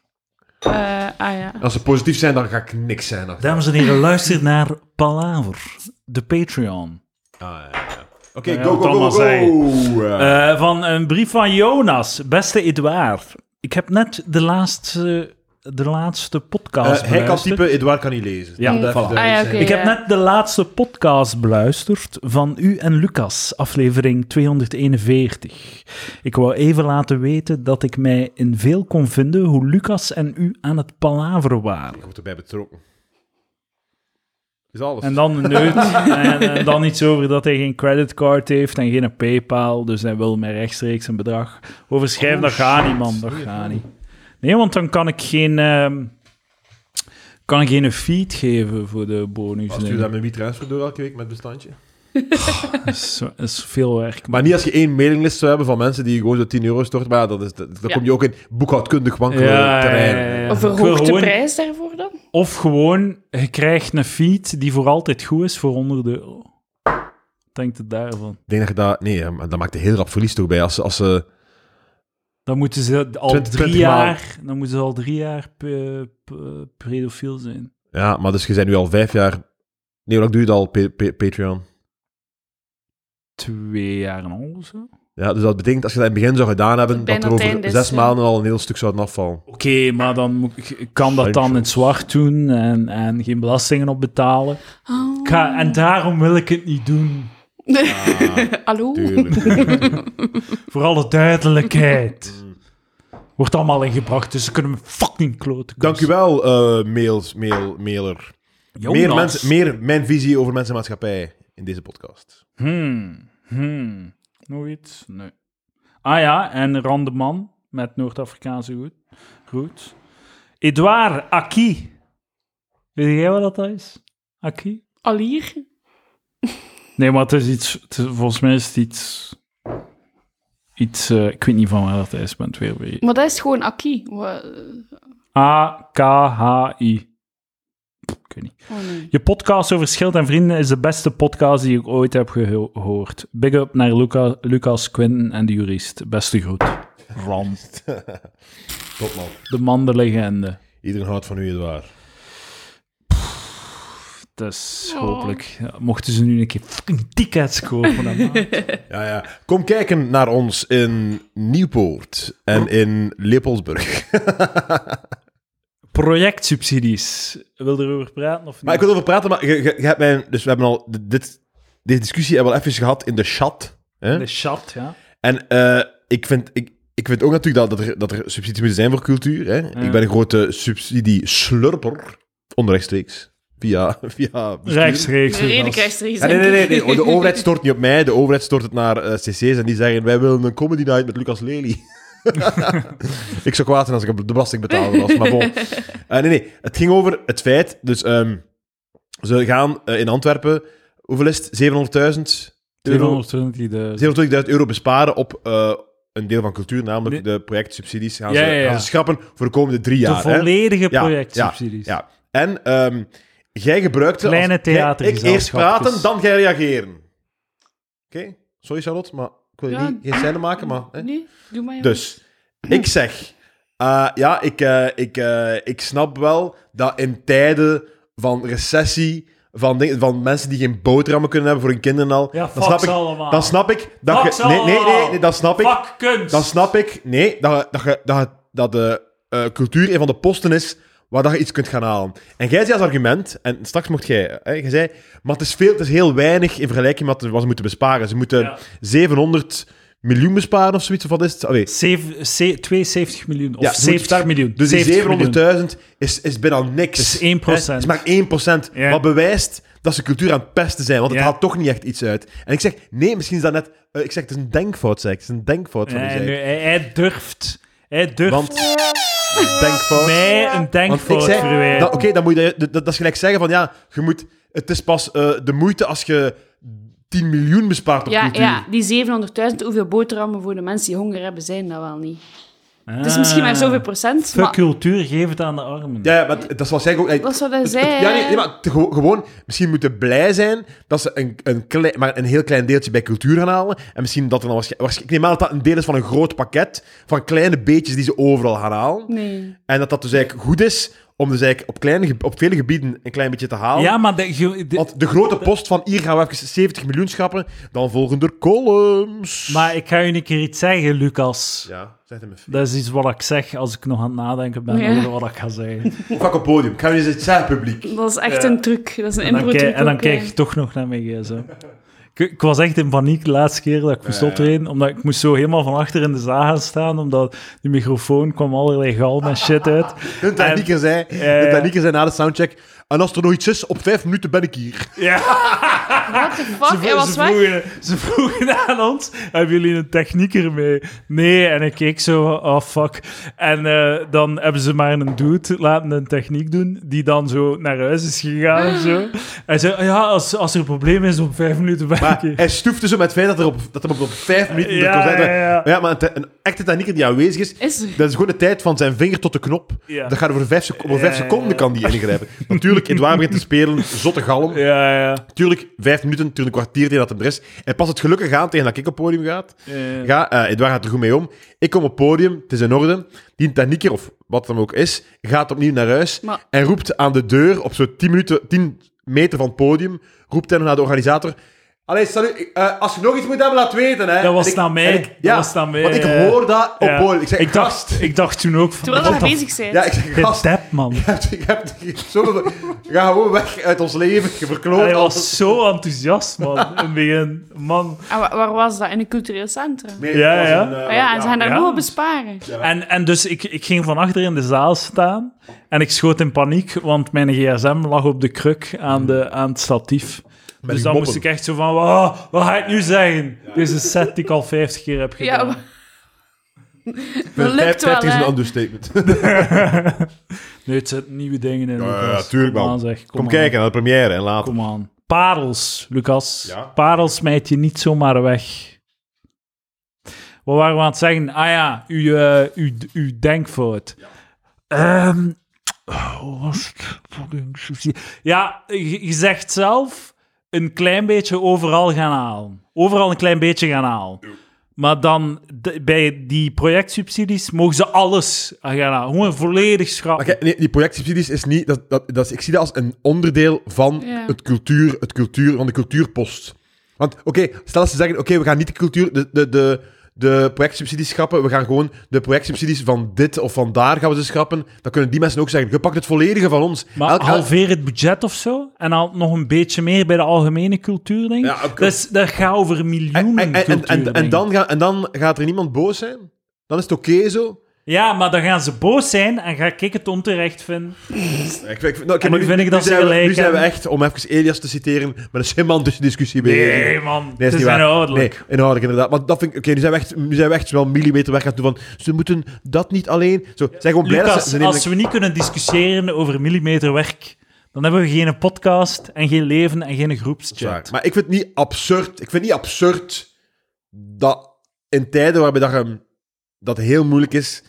Speaker 3: Eh, ah ja.
Speaker 2: En als ze positief zijn, dan ga ik niks zijn. achter.
Speaker 5: Dames en heren, luister naar Palaver, de Patreon.
Speaker 2: Ah, ja, ja. Oké,
Speaker 5: Ja,
Speaker 2: go,
Speaker 5: wat
Speaker 2: go, go,
Speaker 5: allemaal
Speaker 2: go,
Speaker 5: zeggen.
Speaker 2: Eh,
Speaker 5: Eh, van een brief van Jonas. Beste Edouard, ik heb net de laatste, de laatste podcast
Speaker 2: eh, hij kan
Speaker 5: beluisterd.
Speaker 2: typen, Edouard kan niet lezen.
Speaker 5: Ja,
Speaker 2: Dat
Speaker 5: voilà.
Speaker 2: even duidelijk
Speaker 3: Ah, ja,
Speaker 2: zijn.
Speaker 3: oké.
Speaker 5: Ik heb net de laatste podcast beluisterd van u en Lucas, aflevering 241. Ik wou even laten weten dat ik mij in veel kon vinden hoe Lucas en u aan het palaveren waren.
Speaker 2: Ik word erbij betrokken. Is alles.
Speaker 5: En dan een neut. en, eh, dan iets over dat hij geen creditcard heeft en geen PayPal. Dus hij wil mij rechtstreeks een bedrag
Speaker 2: Oh,
Speaker 5: overschrijven. dat gaat niet, man. Dat gaat niet. Nee, want dan kan ik geen. ehm, kan ik geen feed geven voor de bonus.
Speaker 2: Als
Speaker 5: nee.
Speaker 2: stuur dat met WeTransfer door elke week met bestandje.
Speaker 5: Dat is, dat is veel werk.
Speaker 2: Maar niet als je één mailinglist zou hebben van mensen die gewoon zo 10 euro storten. Maar ja, dat is, dat, dan
Speaker 3: Ja.
Speaker 2: kom je ook in boekhoudkundig wankele
Speaker 5: Ja,
Speaker 2: terrein.
Speaker 5: ja, ja, ja.
Speaker 3: Een
Speaker 5: Ik wil
Speaker 3: verhoogde
Speaker 5: gewoon-
Speaker 3: prijs daarvoor dan?
Speaker 5: Of gewoon, je krijgt een feed die voor altijd goed is voor 100 euro. Wat Denkt het daarvan?
Speaker 2: Ik denk dat je dat... Nee, hè, maar dat maakt een heel rap verlies toch bij. Als, ze- als ze...
Speaker 5: Dan moeten ze al
Speaker 2: 20
Speaker 5: drie
Speaker 2: maal.
Speaker 5: jaar, dan moeten ze al drie jaar pe- pe- pedofiel zijn.
Speaker 2: Ja, maar dus je bent nu al vijf jaar... Nee, hoe lang doe je dat al, pa- pa- Patreon?
Speaker 5: Twee jaar en al of zo. Oké,
Speaker 2: Ja, dus dat betekent, als je dat in het begin zou gedaan hebben, dat
Speaker 3: Bijna
Speaker 2: er over
Speaker 3: het einde is,
Speaker 2: zes
Speaker 3: ja.
Speaker 2: maanden al een heel stuk zouden afvallen.
Speaker 5: maar dan moet ik- ik kan dat
Speaker 2: Sancho.
Speaker 5: dan in het zwart doen en, en geen belastingen op betalen.
Speaker 3: Oh.
Speaker 5: Ik ga- en daarom wil ik het niet doen.
Speaker 2: Ah,
Speaker 3: Hallo?
Speaker 2: Tuurlijk.
Speaker 5: Voor alle duidelijkheid. Wordt allemaal ingebracht, dus ze kunnen me fucking kloten.
Speaker 2: Dankjewel, eh mails, mail, mailer.
Speaker 5: Jonas.
Speaker 2: Meer, mensen, meer mijn visie over mensen en maatschappij in deze podcast.
Speaker 5: Hmm, hmm. Nog iets? Nee. Ah ja, en Randeman met Noord-Afrikaanse roet. roet. Edouard Aki. Weet jij wat dat is? Aki?
Speaker 3: Alier?
Speaker 5: Nee, maar het is iets... het is- volgens mij is het iets... Iets... eh, ik weet niet van waar dat is, maar het weer weer.
Speaker 3: Maar dat is gewoon Aki. Wa-
Speaker 5: A-K-H-I. Pff, Ik weet niet.
Speaker 3: Oh nee.
Speaker 5: Je podcast over Schild en Vrienden is de beste podcast die ik ooit heb geho- gehoord. Big up naar Luca, Lucas, Quinten en de jurist. Beste groet. Ram.
Speaker 2: Top man.
Speaker 5: De man, de legende.
Speaker 2: Iedereen houdt van u, Edouard.
Speaker 5: Dus hopelijk ja, mochten ze nu een keer fucking tickets kopen. dan maar.
Speaker 2: Ja, ja. Kom kijken naar ons in Nieuwpoort en in Leopoldsburg.
Speaker 5: Projectsubsidies. Wil je erover praten of niet?
Speaker 2: Maar ik wil erover praten, maar je, je, je hebt mijn... Dus we hebben al... Dit, deze discussie hebben we al even gehad in de chat. Hè?
Speaker 5: De chat, ja.
Speaker 2: En eh, ik, vind, ik, ik vind ook natuurlijk dat, dat, er, dat er subsidies moeten zijn voor cultuur. Hè? Ik ben een grote subsidie-slurper. Onrechtstreeks. Via... via bestuur.
Speaker 5: Rechtstreeks.
Speaker 3: De reden
Speaker 5: dus.
Speaker 3: krijgt er iets
Speaker 2: Ja, nee,
Speaker 3: in.
Speaker 2: nee, nee, nee. De overheid stort niet op mij. De overheid stort het naar eh, cc's en die zeggen... Wij willen een comedy night met Lucas Lely. ik zou kwaad zijn als ik de belasting betaalde was, maar bon. Eh, nee, nee. Het ging over het feit... Dus ehm, ze gaan eh, in Antwerpen... Hoeveel is het? 700.000 euro?
Speaker 5: 220.000.
Speaker 2: 720.000 euro besparen op... eh, een deel van cultuur, namelijk de projectsubsidies, gaan,
Speaker 5: Ja,
Speaker 2: ze,
Speaker 5: ja, ja.
Speaker 2: gaan ze schrappen voor de komende drie jaar.
Speaker 5: De
Speaker 2: hè.
Speaker 5: volledige
Speaker 2: Ja,
Speaker 5: projectsubsidies.
Speaker 2: Ja, ja. En ehm, jij gebruikt ze
Speaker 5: Kleine
Speaker 2: als... jij- Ik eerst
Speaker 5: theatergezelschapjes.
Speaker 2: praten, dan jij reageren. Oké? Sorry Charlotte, maar ik wil
Speaker 3: Ja.
Speaker 2: niet geen scène maken, maar... Hè?
Speaker 3: Nee, doe maar. jongen.
Speaker 2: Dus, ik zeg... eh, ja, ik, eh, ik, eh, ik snap wel dat in tijden van recessie, van, dingen- van mensen die geen boterhammen kunnen hebben voor hun kinderen al...
Speaker 5: Ja,
Speaker 2: dan
Speaker 5: fuck
Speaker 2: snap
Speaker 5: ze
Speaker 2: ik,
Speaker 5: allemaal.
Speaker 2: dan snap ik dat
Speaker 5: Fuck
Speaker 2: je...
Speaker 5: ze
Speaker 2: Nee, nee, nee,
Speaker 5: allemaal.
Speaker 2: nee, dat snap ik.
Speaker 5: Fuck kunst.
Speaker 2: Dan snap ik, nee, dat, je- dat, je- dat, je- dat de eh, cultuur een van de posten is waar dat je iets kunt gaan halen. En jij zei als argument, en straks mocht jij, hè, jij zei, maar het is, veel, het is heel weinig in vergelijking met wat ze moeten besparen. Ze moeten
Speaker 5: Ja.
Speaker 2: 700 miljoen besparen of zoiets. Of wat is het? Allee, dus
Speaker 5: Zeven- ze- 72 miljoen of
Speaker 2: ja, ze moeten
Speaker 5: 70
Speaker 2: daar-
Speaker 5: miljoen.
Speaker 2: Dus
Speaker 5: 70 miljoen.
Speaker 2: die 700.000 is, is bijna niks.
Speaker 5: Dat is 1%.
Speaker 2: Hè? Het is maar 1%.
Speaker 5: Ja.
Speaker 2: Wat bewijst dat ze cultuur aan het pesten zijn, want het
Speaker 5: Ja.
Speaker 2: haalt toch niet echt iets uit. En ik zeg, nee, misschien is dat net... eh, ik zeg, het is een denkfout, zeg ik. Het is een denkfout van u,
Speaker 5: Ja,
Speaker 2: zeg
Speaker 5: en
Speaker 2: ik.
Speaker 5: nu- hij, hij durft. Hij durft
Speaker 2: Want... Denkfout.
Speaker 5: mij een
Speaker 2: Want
Speaker 5: denkfout
Speaker 2: ik zei-
Speaker 5: verwijten.
Speaker 2: Dat- Oké, dan moet je dat, dat is gelijk zeggen van ja, je moet, het is pas eh, de moeite als je 10 miljoen bespaart op
Speaker 3: Ja,
Speaker 2: cultuur.
Speaker 3: ja, die 700.000, hoeveel boterhammen voor de mensen die honger hebben, zijn dat wel niet. Het
Speaker 2: Ah.
Speaker 3: is misschien maar zoveel procent,
Speaker 5: Ah. Fuck
Speaker 3: maar
Speaker 5: cultuur, geef het aan de armen.
Speaker 2: Ja, ja, maar het- dat is wat zij ook. eh,
Speaker 3: dat is wat hij
Speaker 2: het-
Speaker 3: zei.
Speaker 2: het- ja, nee, nee, maar te- gewo- gewoon, misschien moeten blij zijn dat ze een, een, klein, maar een heel klein deeltje bij cultuur gaan halen. En misschien dat er dan waarschijnlijk. Ik neem aan dat dat een deel is van een groot pakket van kleine beetjes die ze overal gaan halen.
Speaker 3: Nee.
Speaker 2: En dat dat dus eigenlijk goed is om dus eigenlijk op, kleine, ge- op vele gebieden een klein beetje te halen.
Speaker 5: Ja, maar de, ge- de-
Speaker 2: Want de grote post van hier gaan we even 70 miljoen schappen, dan volgen er columns.
Speaker 5: maar ik ga je een keer iets zeggen, Lucas.
Speaker 2: Ja, zet hem even.
Speaker 5: Dat is iets wat ik zeg als ik nog aan het nadenken ben
Speaker 3: Ja.
Speaker 5: over wat ik ga zeggen.
Speaker 2: Fuck op podium, ik ga nu eens iets zeggen, publiek.
Speaker 3: Dat is echt
Speaker 5: Ja.
Speaker 3: een truc. Dat is een
Speaker 5: En dan,
Speaker 3: impro-truc.
Speaker 5: kijk, en dan
Speaker 3: ook, eh.
Speaker 5: kijk
Speaker 3: ja.
Speaker 5: je toch nog naar mijn gsm. Ik, ik was echt in paniek de laatste keer dat ik moest optreden, omdat ik moest zo helemaal van achter in de zaal gaan staan, omdat die microfoon kwam allerlei galm en shit uit.
Speaker 2: Hun technieker zei,
Speaker 5: eh,
Speaker 2: hun technieker zei na de soundcheck, en als er nog iets is, op vijf minuten ben ik hier.
Speaker 5: Ja,
Speaker 3: Fuck, hij was
Speaker 5: ze,
Speaker 3: weg.
Speaker 5: vroegen, ze vroegen aan ons, hebben jullie een technieker mee? Nee, en ik keek zo, oh fuck. En eh, dan hebben ze maar een dude laten een techniek doen, die dan zo naar huis is gegaan of zo. Hij zei, ja, als, als er een probleem is, om vijf minuten ben ik
Speaker 2: Maar
Speaker 5: hier."
Speaker 2: hij stoefde zo met het feit dat, er op, dat hem op, op vijf minuten er
Speaker 5: Ja,
Speaker 2: kon zijn.
Speaker 5: ja, ja.
Speaker 2: Maar ja, maar een, te- een echte technieker die aanwezig is,
Speaker 3: Is er.
Speaker 2: dat is gewoon de tijd van zijn vinger tot de knop.
Speaker 5: Ja.
Speaker 2: Dat gaat over vijf, seco- over vijf
Speaker 5: Ja, ja, ja.
Speaker 2: seconden kan die ingrijpen. Natuurlijk, Edouard begint te spelen, zotte galm.
Speaker 5: Ja, ja.
Speaker 2: Tuurlijk, vijf minuten, natuurlijk een kwartier tegen dat hem er is. En pas het gelukkig aan tegen dat ik op het podium gaat.
Speaker 5: Ja.
Speaker 2: Ga, eh, Edouard gaat er goed mee om. Ik kom op het podium, het is in orde. Die technieker, of wat het dan ook is, gaat opnieuw naar huis
Speaker 3: Maar-
Speaker 2: en roept aan de deur op zo'n 10, minuten, 10 meter van het podium, roept hij naar de organisator... Allee, salut, ik- eh, als je nog iets moet hebben, laat weten. Hè.
Speaker 5: Dat was
Speaker 2: En ik-
Speaker 5: naar mij.
Speaker 2: en ik-
Speaker 5: Dat
Speaker 2: ja,
Speaker 5: was naar mij,
Speaker 2: want ik
Speaker 5: ja.
Speaker 2: hoor dat op
Speaker 5: Ja.
Speaker 2: podium. Oh, Ik zeg,
Speaker 5: ik,
Speaker 2: gast.
Speaker 5: dacht, ik dacht toen ook van...
Speaker 3: Terwijl
Speaker 5: wat
Speaker 3: je
Speaker 5: de
Speaker 3: bezig bent.
Speaker 2: ja, ik zeg,
Speaker 5: f-
Speaker 2: gast.
Speaker 5: dep, man.
Speaker 2: Je hebt, je hebt, je hebt zoveel- ga gewoon weg uit ons leven. Je verkloot
Speaker 5: Hij
Speaker 2: alles.
Speaker 5: was zo enthousiast, man. In het begin. Man.
Speaker 3: En Ah, wa- waar was dat? In een cultureel centrum.
Speaker 2: Nee, het
Speaker 5: Ja,
Speaker 2: was
Speaker 5: ja.
Speaker 2: een, eh,
Speaker 3: Ah ja, en ze gaan daar
Speaker 5: ja.
Speaker 3: nog wat besparen.
Speaker 5: En, en dus ik, ik ging van achter in de zaal staan en ik schoot in paniek, want mijn gsm lag op de kruk aan, de, aan het statief. dus
Speaker 2: die
Speaker 5: dan
Speaker 2: moppen.
Speaker 5: moest ik echt zo van, "Wauw, wat ga ik nu zeggen? Deze set die ik al 50 keer heb
Speaker 3: Ja,
Speaker 5: gedaan.
Speaker 3: maar- dat lukt wel,
Speaker 2: 50 is een
Speaker 3: hè.
Speaker 2: understatement.
Speaker 5: Nu, het zitten nieuwe dingen in,
Speaker 2: Ja, ja,
Speaker 5: Lucas.
Speaker 2: tuurlijk,
Speaker 5: Kom
Speaker 2: man.
Speaker 5: aan, zeg.
Speaker 2: Kom
Speaker 5: aan.
Speaker 2: kijken naar de première en later.
Speaker 5: Kom aan. Parels, Lucas.
Speaker 2: Ja.
Speaker 5: Parels smijt je niet zomaar weg. Wat waren we aan het zeggen? Ah ja, u, eh, u, u denkfout. Ehm, oh, wat was het? Fucking sushi. Ja, je je zegt zelf een klein beetje overal gaan halen. Overal een klein beetje gaan halen. Maar dan d- bij die projectsubsidies mogen ze alles gaan halen. Gewoon volledig schrappen.
Speaker 2: Maar kijk, nee, die projectsubsidies is niet... Dat, dat, dat is, ik zie dat als een onderdeel van,
Speaker 3: Ja.
Speaker 2: het cultuur, het cultuur, van de cultuurpost. Want oké, stel dat ze zeggen... Oké, we gaan niet de cultuur... De, de, de, de projectsubsidies schrappen. We gaan gewoon de projectsubsidies van dit of van daar gaan we ze schrappen. Dan kunnen die mensen ook zeggen... Je pakt het volledige van ons.
Speaker 5: Maar
Speaker 2: Elk- elk-
Speaker 5: halveer het budget of zo en dan nog een beetje meer bij de algemene cultuur, denk ik.
Speaker 2: Ja, oké.
Speaker 5: dat, is, dat gaat over miljoenen
Speaker 2: en, en, en,
Speaker 5: culturen,
Speaker 2: en,
Speaker 5: denk
Speaker 2: en,
Speaker 5: ik.
Speaker 2: dan gaan, en dan gaat er niemand boos zijn? Dan is het oké zo?
Speaker 5: Ja, maar dan gaan ze boos zijn en ga ik het onterecht vinden.
Speaker 2: Ja, Ik, ik, nou, oké,
Speaker 5: En
Speaker 2: maar
Speaker 5: nu vind ik dat ze
Speaker 2: zijn we-
Speaker 5: gelijk
Speaker 2: Nu zijn we
Speaker 5: hebben.
Speaker 2: echt, om even Elias te citeren, met een semantische discussie bezig.
Speaker 5: Nee, man. Nee,
Speaker 2: Nee,
Speaker 5: het
Speaker 2: is
Speaker 5: is
Speaker 2: niet waar.
Speaker 5: inhoudelijk.
Speaker 2: Nee, inhoudelijk inderdaad. Want dat vind ik... Oké, nu zijn we echt, nu zijn we echt wel een millimeter weg aan het doen van... Ze moeten dat niet alleen... Zo, zijn gewoon blij dat
Speaker 5: Lucas,
Speaker 2: ze... ze nemen
Speaker 5: als we niet kunnen discussiëren over millimeterwerk, dan hebben we geen podcast en geen leven en geen
Speaker 2: een-
Speaker 5: groepschat.
Speaker 2: Maar ik vind het niet absurd... Ik vind het niet absurd dat in tijden waarbij dat, je- dat heel moeilijk is...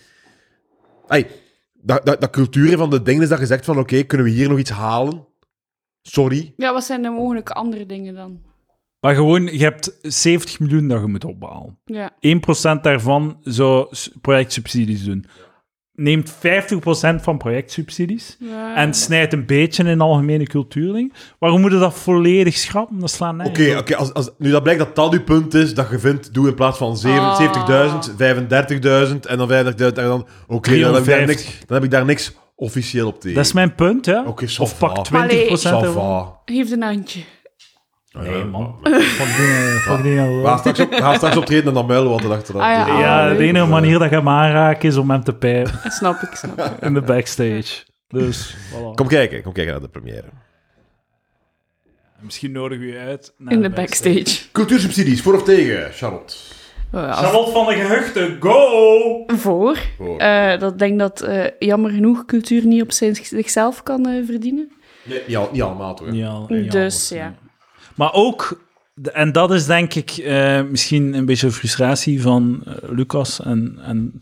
Speaker 2: Ai, dat, dat, dat cultuur van de dingen is dat je zegt van... Oké, kunnen we hier nog iets halen? Sorry.
Speaker 3: Ja, wat zijn de mogelijke andere dingen dan?
Speaker 5: Maar gewoon, je hebt 70 miljoen dat je moet opbouwen.
Speaker 3: Ja.
Speaker 5: 1% daarvan zou s- projectsubsidies doen. Neemt 50% van projectsubsidies
Speaker 3: Ja.
Speaker 5: en snijdt een beetje in algemene cultuurding. Waarom moeten we dat volledig schrappen? Dat slaat nergens
Speaker 2: Oké,
Speaker 5: op.
Speaker 2: oké, als, als, nu dat blijkt dat dat uw punt is, dat je vindt, doe in plaats van zeven-
Speaker 3: Ah.
Speaker 2: 70.000, 35.000 en dan 35.000 en dan, oké, dan, heb ik daar
Speaker 5: 350.
Speaker 2: niks- dan heb ik daar niks officieel op tegen.
Speaker 5: Dat is mijn punt, hè?
Speaker 2: Oké, ça
Speaker 5: of
Speaker 2: va.
Speaker 5: pak 20%
Speaker 2: Ça
Speaker 5: ervan.
Speaker 2: va.
Speaker 3: Geef een handje.
Speaker 5: Nee, man. Fuck die- fuck die-
Speaker 2: We gaan straks, op, we gaan straks optreden en dan muilen wat erachter.
Speaker 3: Ah, ja.
Speaker 5: Ja, de
Speaker 3: nee.
Speaker 5: enige manier dat je hem aanraakt is om hem te pijpen
Speaker 3: Snap ik, snap ik.
Speaker 5: in de backstage. Dus, voilà.
Speaker 2: Kom kijken, kom kijken naar de première.
Speaker 5: Misschien nodig u uit naar
Speaker 3: In de backstage.
Speaker 2: Cultuursubsidies, voor of tegen, Charlotte?
Speaker 3: Oh, ja.
Speaker 5: Charlotte van de Gehuchten, go!
Speaker 3: Voor.
Speaker 2: Voor.
Speaker 3: Eh, dat ik denk dat, eh, jammer genoeg, cultuur niet op zijn, zichzelf kan eh, verdienen.
Speaker 2: Nee, niet, al- niet allemaal toch? hè?
Speaker 5: Ja,
Speaker 3: dus ja.
Speaker 5: Maar ook, de- en dat is denk ik eh, misschien een beetje frustratie van eh, Lucas. En, en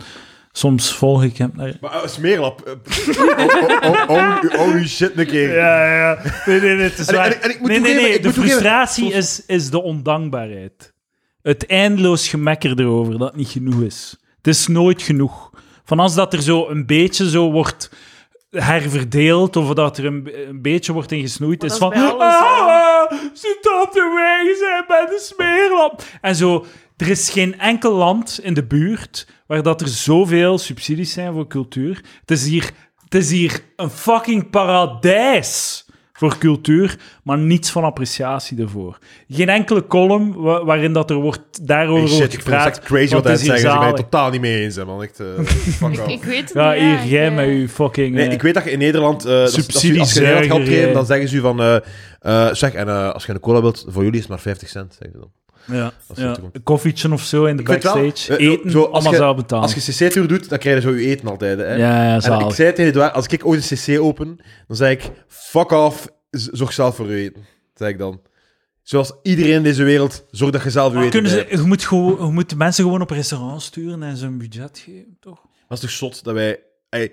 Speaker 5: soms volg ik hem. naar-
Speaker 2: Maar eh, smeerlap. eh, oh, oh, oh, oh, oh, die shit een keer.
Speaker 5: Ja, ja. Nee, nee, nee, het is
Speaker 2: En-
Speaker 5: waar.
Speaker 2: en- en ik moet
Speaker 5: nee, nee,
Speaker 2: toegeven,
Speaker 5: nee.
Speaker 2: ik
Speaker 5: De
Speaker 2: moet toegeven-
Speaker 5: frustratie is, is de ondankbaarheid. Het eindeloos gemekker erover dat het niet genoeg is. Het is nooit genoeg. Van als dat er zo een beetje zo wordt herverdeeld of dat er een, een beetje wordt ingesnoeid,
Speaker 3: Maar
Speaker 5: is van...
Speaker 3: dat is bij alles,
Speaker 5: ah, ze tante weg zijn bij de smeerlap. En zo, er is geen enkel land in de buurt waar dat er zoveel subsidies zijn voor cultuur. Het is hier, het is hier een fucking paradijs voor cultuur, maar niets van appreciatie ervoor. Geen enkele column wa- waarin dat er wordt, daarover
Speaker 2: Hey, shit,
Speaker 5: wordt
Speaker 2: ik vind het
Speaker 5: gepraat.
Speaker 2: echt crazy wat
Speaker 5: want
Speaker 2: hij
Speaker 5: het is hier
Speaker 2: zegt. Ik ben het
Speaker 5: zalig.
Speaker 2: totaal niet mee eens, hè, man. Echt, eh, fuck off.
Speaker 3: Ik weet het
Speaker 5: Ja,
Speaker 3: niet.
Speaker 5: hier jij
Speaker 3: ik, eh,
Speaker 5: met uw fucking...
Speaker 2: Nee,
Speaker 5: eh,
Speaker 2: ik weet dat je in Nederland... eh, dat- dat- als je- Als je in Nederland gaat
Speaker 5: Subsidiezuiger,
Speaker 2: optreden,
Speaker 5: eh.
Speaker 2: dan zeggen ze u van... eh, eh, zeg, en eh, als je een cola wilt, voor jullie is het maar 50 cent. Zeggen ze dan.
Speaker 5: Ja,
Speaker 2: is
Speaker 5: ja.
Speaker 2: goed, hoor.
Speaker 5: een koffietje of zo in de
Speaker 2: Ik vind het wel,
Speaker 5: backstage.
Speaker 2: eh,
Speaker 5: eten,
Speaker 2: zo, als
Speaker 5: allemaal
Speaker 2: je-
Speaker 5: zelf betalen.
Speaker 2: Als je cc-tour doet, dan krijg je zo je eten altijd. Hè.
Speaker 5: ja, ja,
Speaker 2: en ik
Speaker 5: zalig.
Speaker 2: zei tegen Edouard, als ik ooit een cc open, dan zeg ik... Fuck off, z- zorg zelf voor je eten. Zeg ik dan. Zoals iedereen in deze wereld, zorg dat je zelf je
Speaker 5: Maar
Speaker 2: eten
Speaker 5: kunnen ze,
Speaker 2: krijgt.
Speaker 5: je, moet gewoon, je moet de mensen gewoon op restaurant sturen en ze een budget geven, toch?
Speaker 2: Dat is toch zot dat wij... ey, het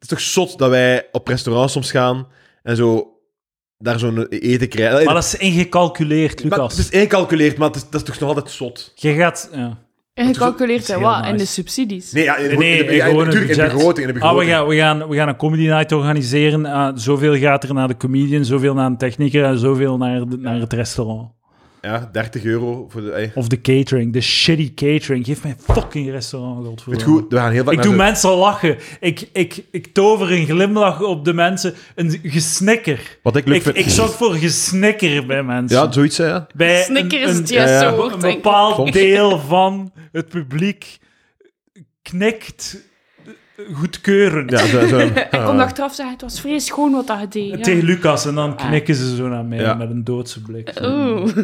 Speaker 2: is toch zot dat wij op restaurants soms gaan en zo... Daar zo'n eten krijgen. Allee,
Speaker 5: Maar dat is ingecalculeerd,
Speaker 2: Maar
Speaker 5: Lucas.
Speaker 2: het is ingecalculeerd, maar het is, dat is toch nog altijd zot?
Speaker 5: Je gaat... Ja.
Speaker 3: En gecalculeerd
Speaker 5: Dat
Speaker 3: zijn
Speaker 5: is heel
Speaker 3: wat? En de
Speaker 5: nice.
Speaker 3: subsidies.
Speaker 2: Nee, ja, in de,
Speaker 5: Nee,
Speaker 2: in de- ja, in-
Speaker 5: gewoon een
Speaker 2: natuurlijk, in de
Speaker 5: budget.
Speaker 2: begroting. In de
Speaker 5: Ah, we,
Speaker 2: begroting.
Speaker 5: gaan, we, gaan, we gaan een comedy night organiseren. Ah, zoveel gaat er naar de comedian, zoveel naar een technieker en zoveel naar, de- naar het restaurant.
Speaker 2: Ja, 30 euro voor de... eh, ey.
Speaker 5: Of de catering, de shitty catering. Geef mij fucking restaurant,
Speaker 2: Weet
Speaker 5: godverdomme.
Speaker 2: goed, we gaan heel vaak
Speaker 5: Ik
Speaker 2: naar
Speaker 5: doe
Speaker 2: de-
Speaker 5: mensen lachen. Ik, ik, ik tover een glimlach op de mensen. Een gesnikker.
Speaker 2: Wat ik leuk
Speaker 5: Ik,
Speaker 2: vind-
Speaker 5: ik zorg voor gesnikker bij mensen.
Speaker 2: Ja, zoiets, hè, ja.
Speaker 5: bij
Speaker 3: Snikker
Speaker 5: een-
Speaker 3: is
Speaker 5: een-
Speaker 3: het juist
Speaker 2: ja, ja.
Speaker 3: zo
Speaker 5: een
Speaker 3: woord, denk ik.
Speaker 5: bepaald
Speaker 2: Soms.
Speaker 5: deel van het publiek knikt eh, goedkeurend
Speaker 2: Ja, zo, zo,
Speaker 3: Ik kom achteraf zeggen, het was vrees schoon wat dat je deed. ja. Ah.
Speaker 5: tegen Lucas. En dan knikken ze zo naar mij
Speaker 2: Ja.
Speaker 5: met een doodse blik.
Speaker 3: Oeh.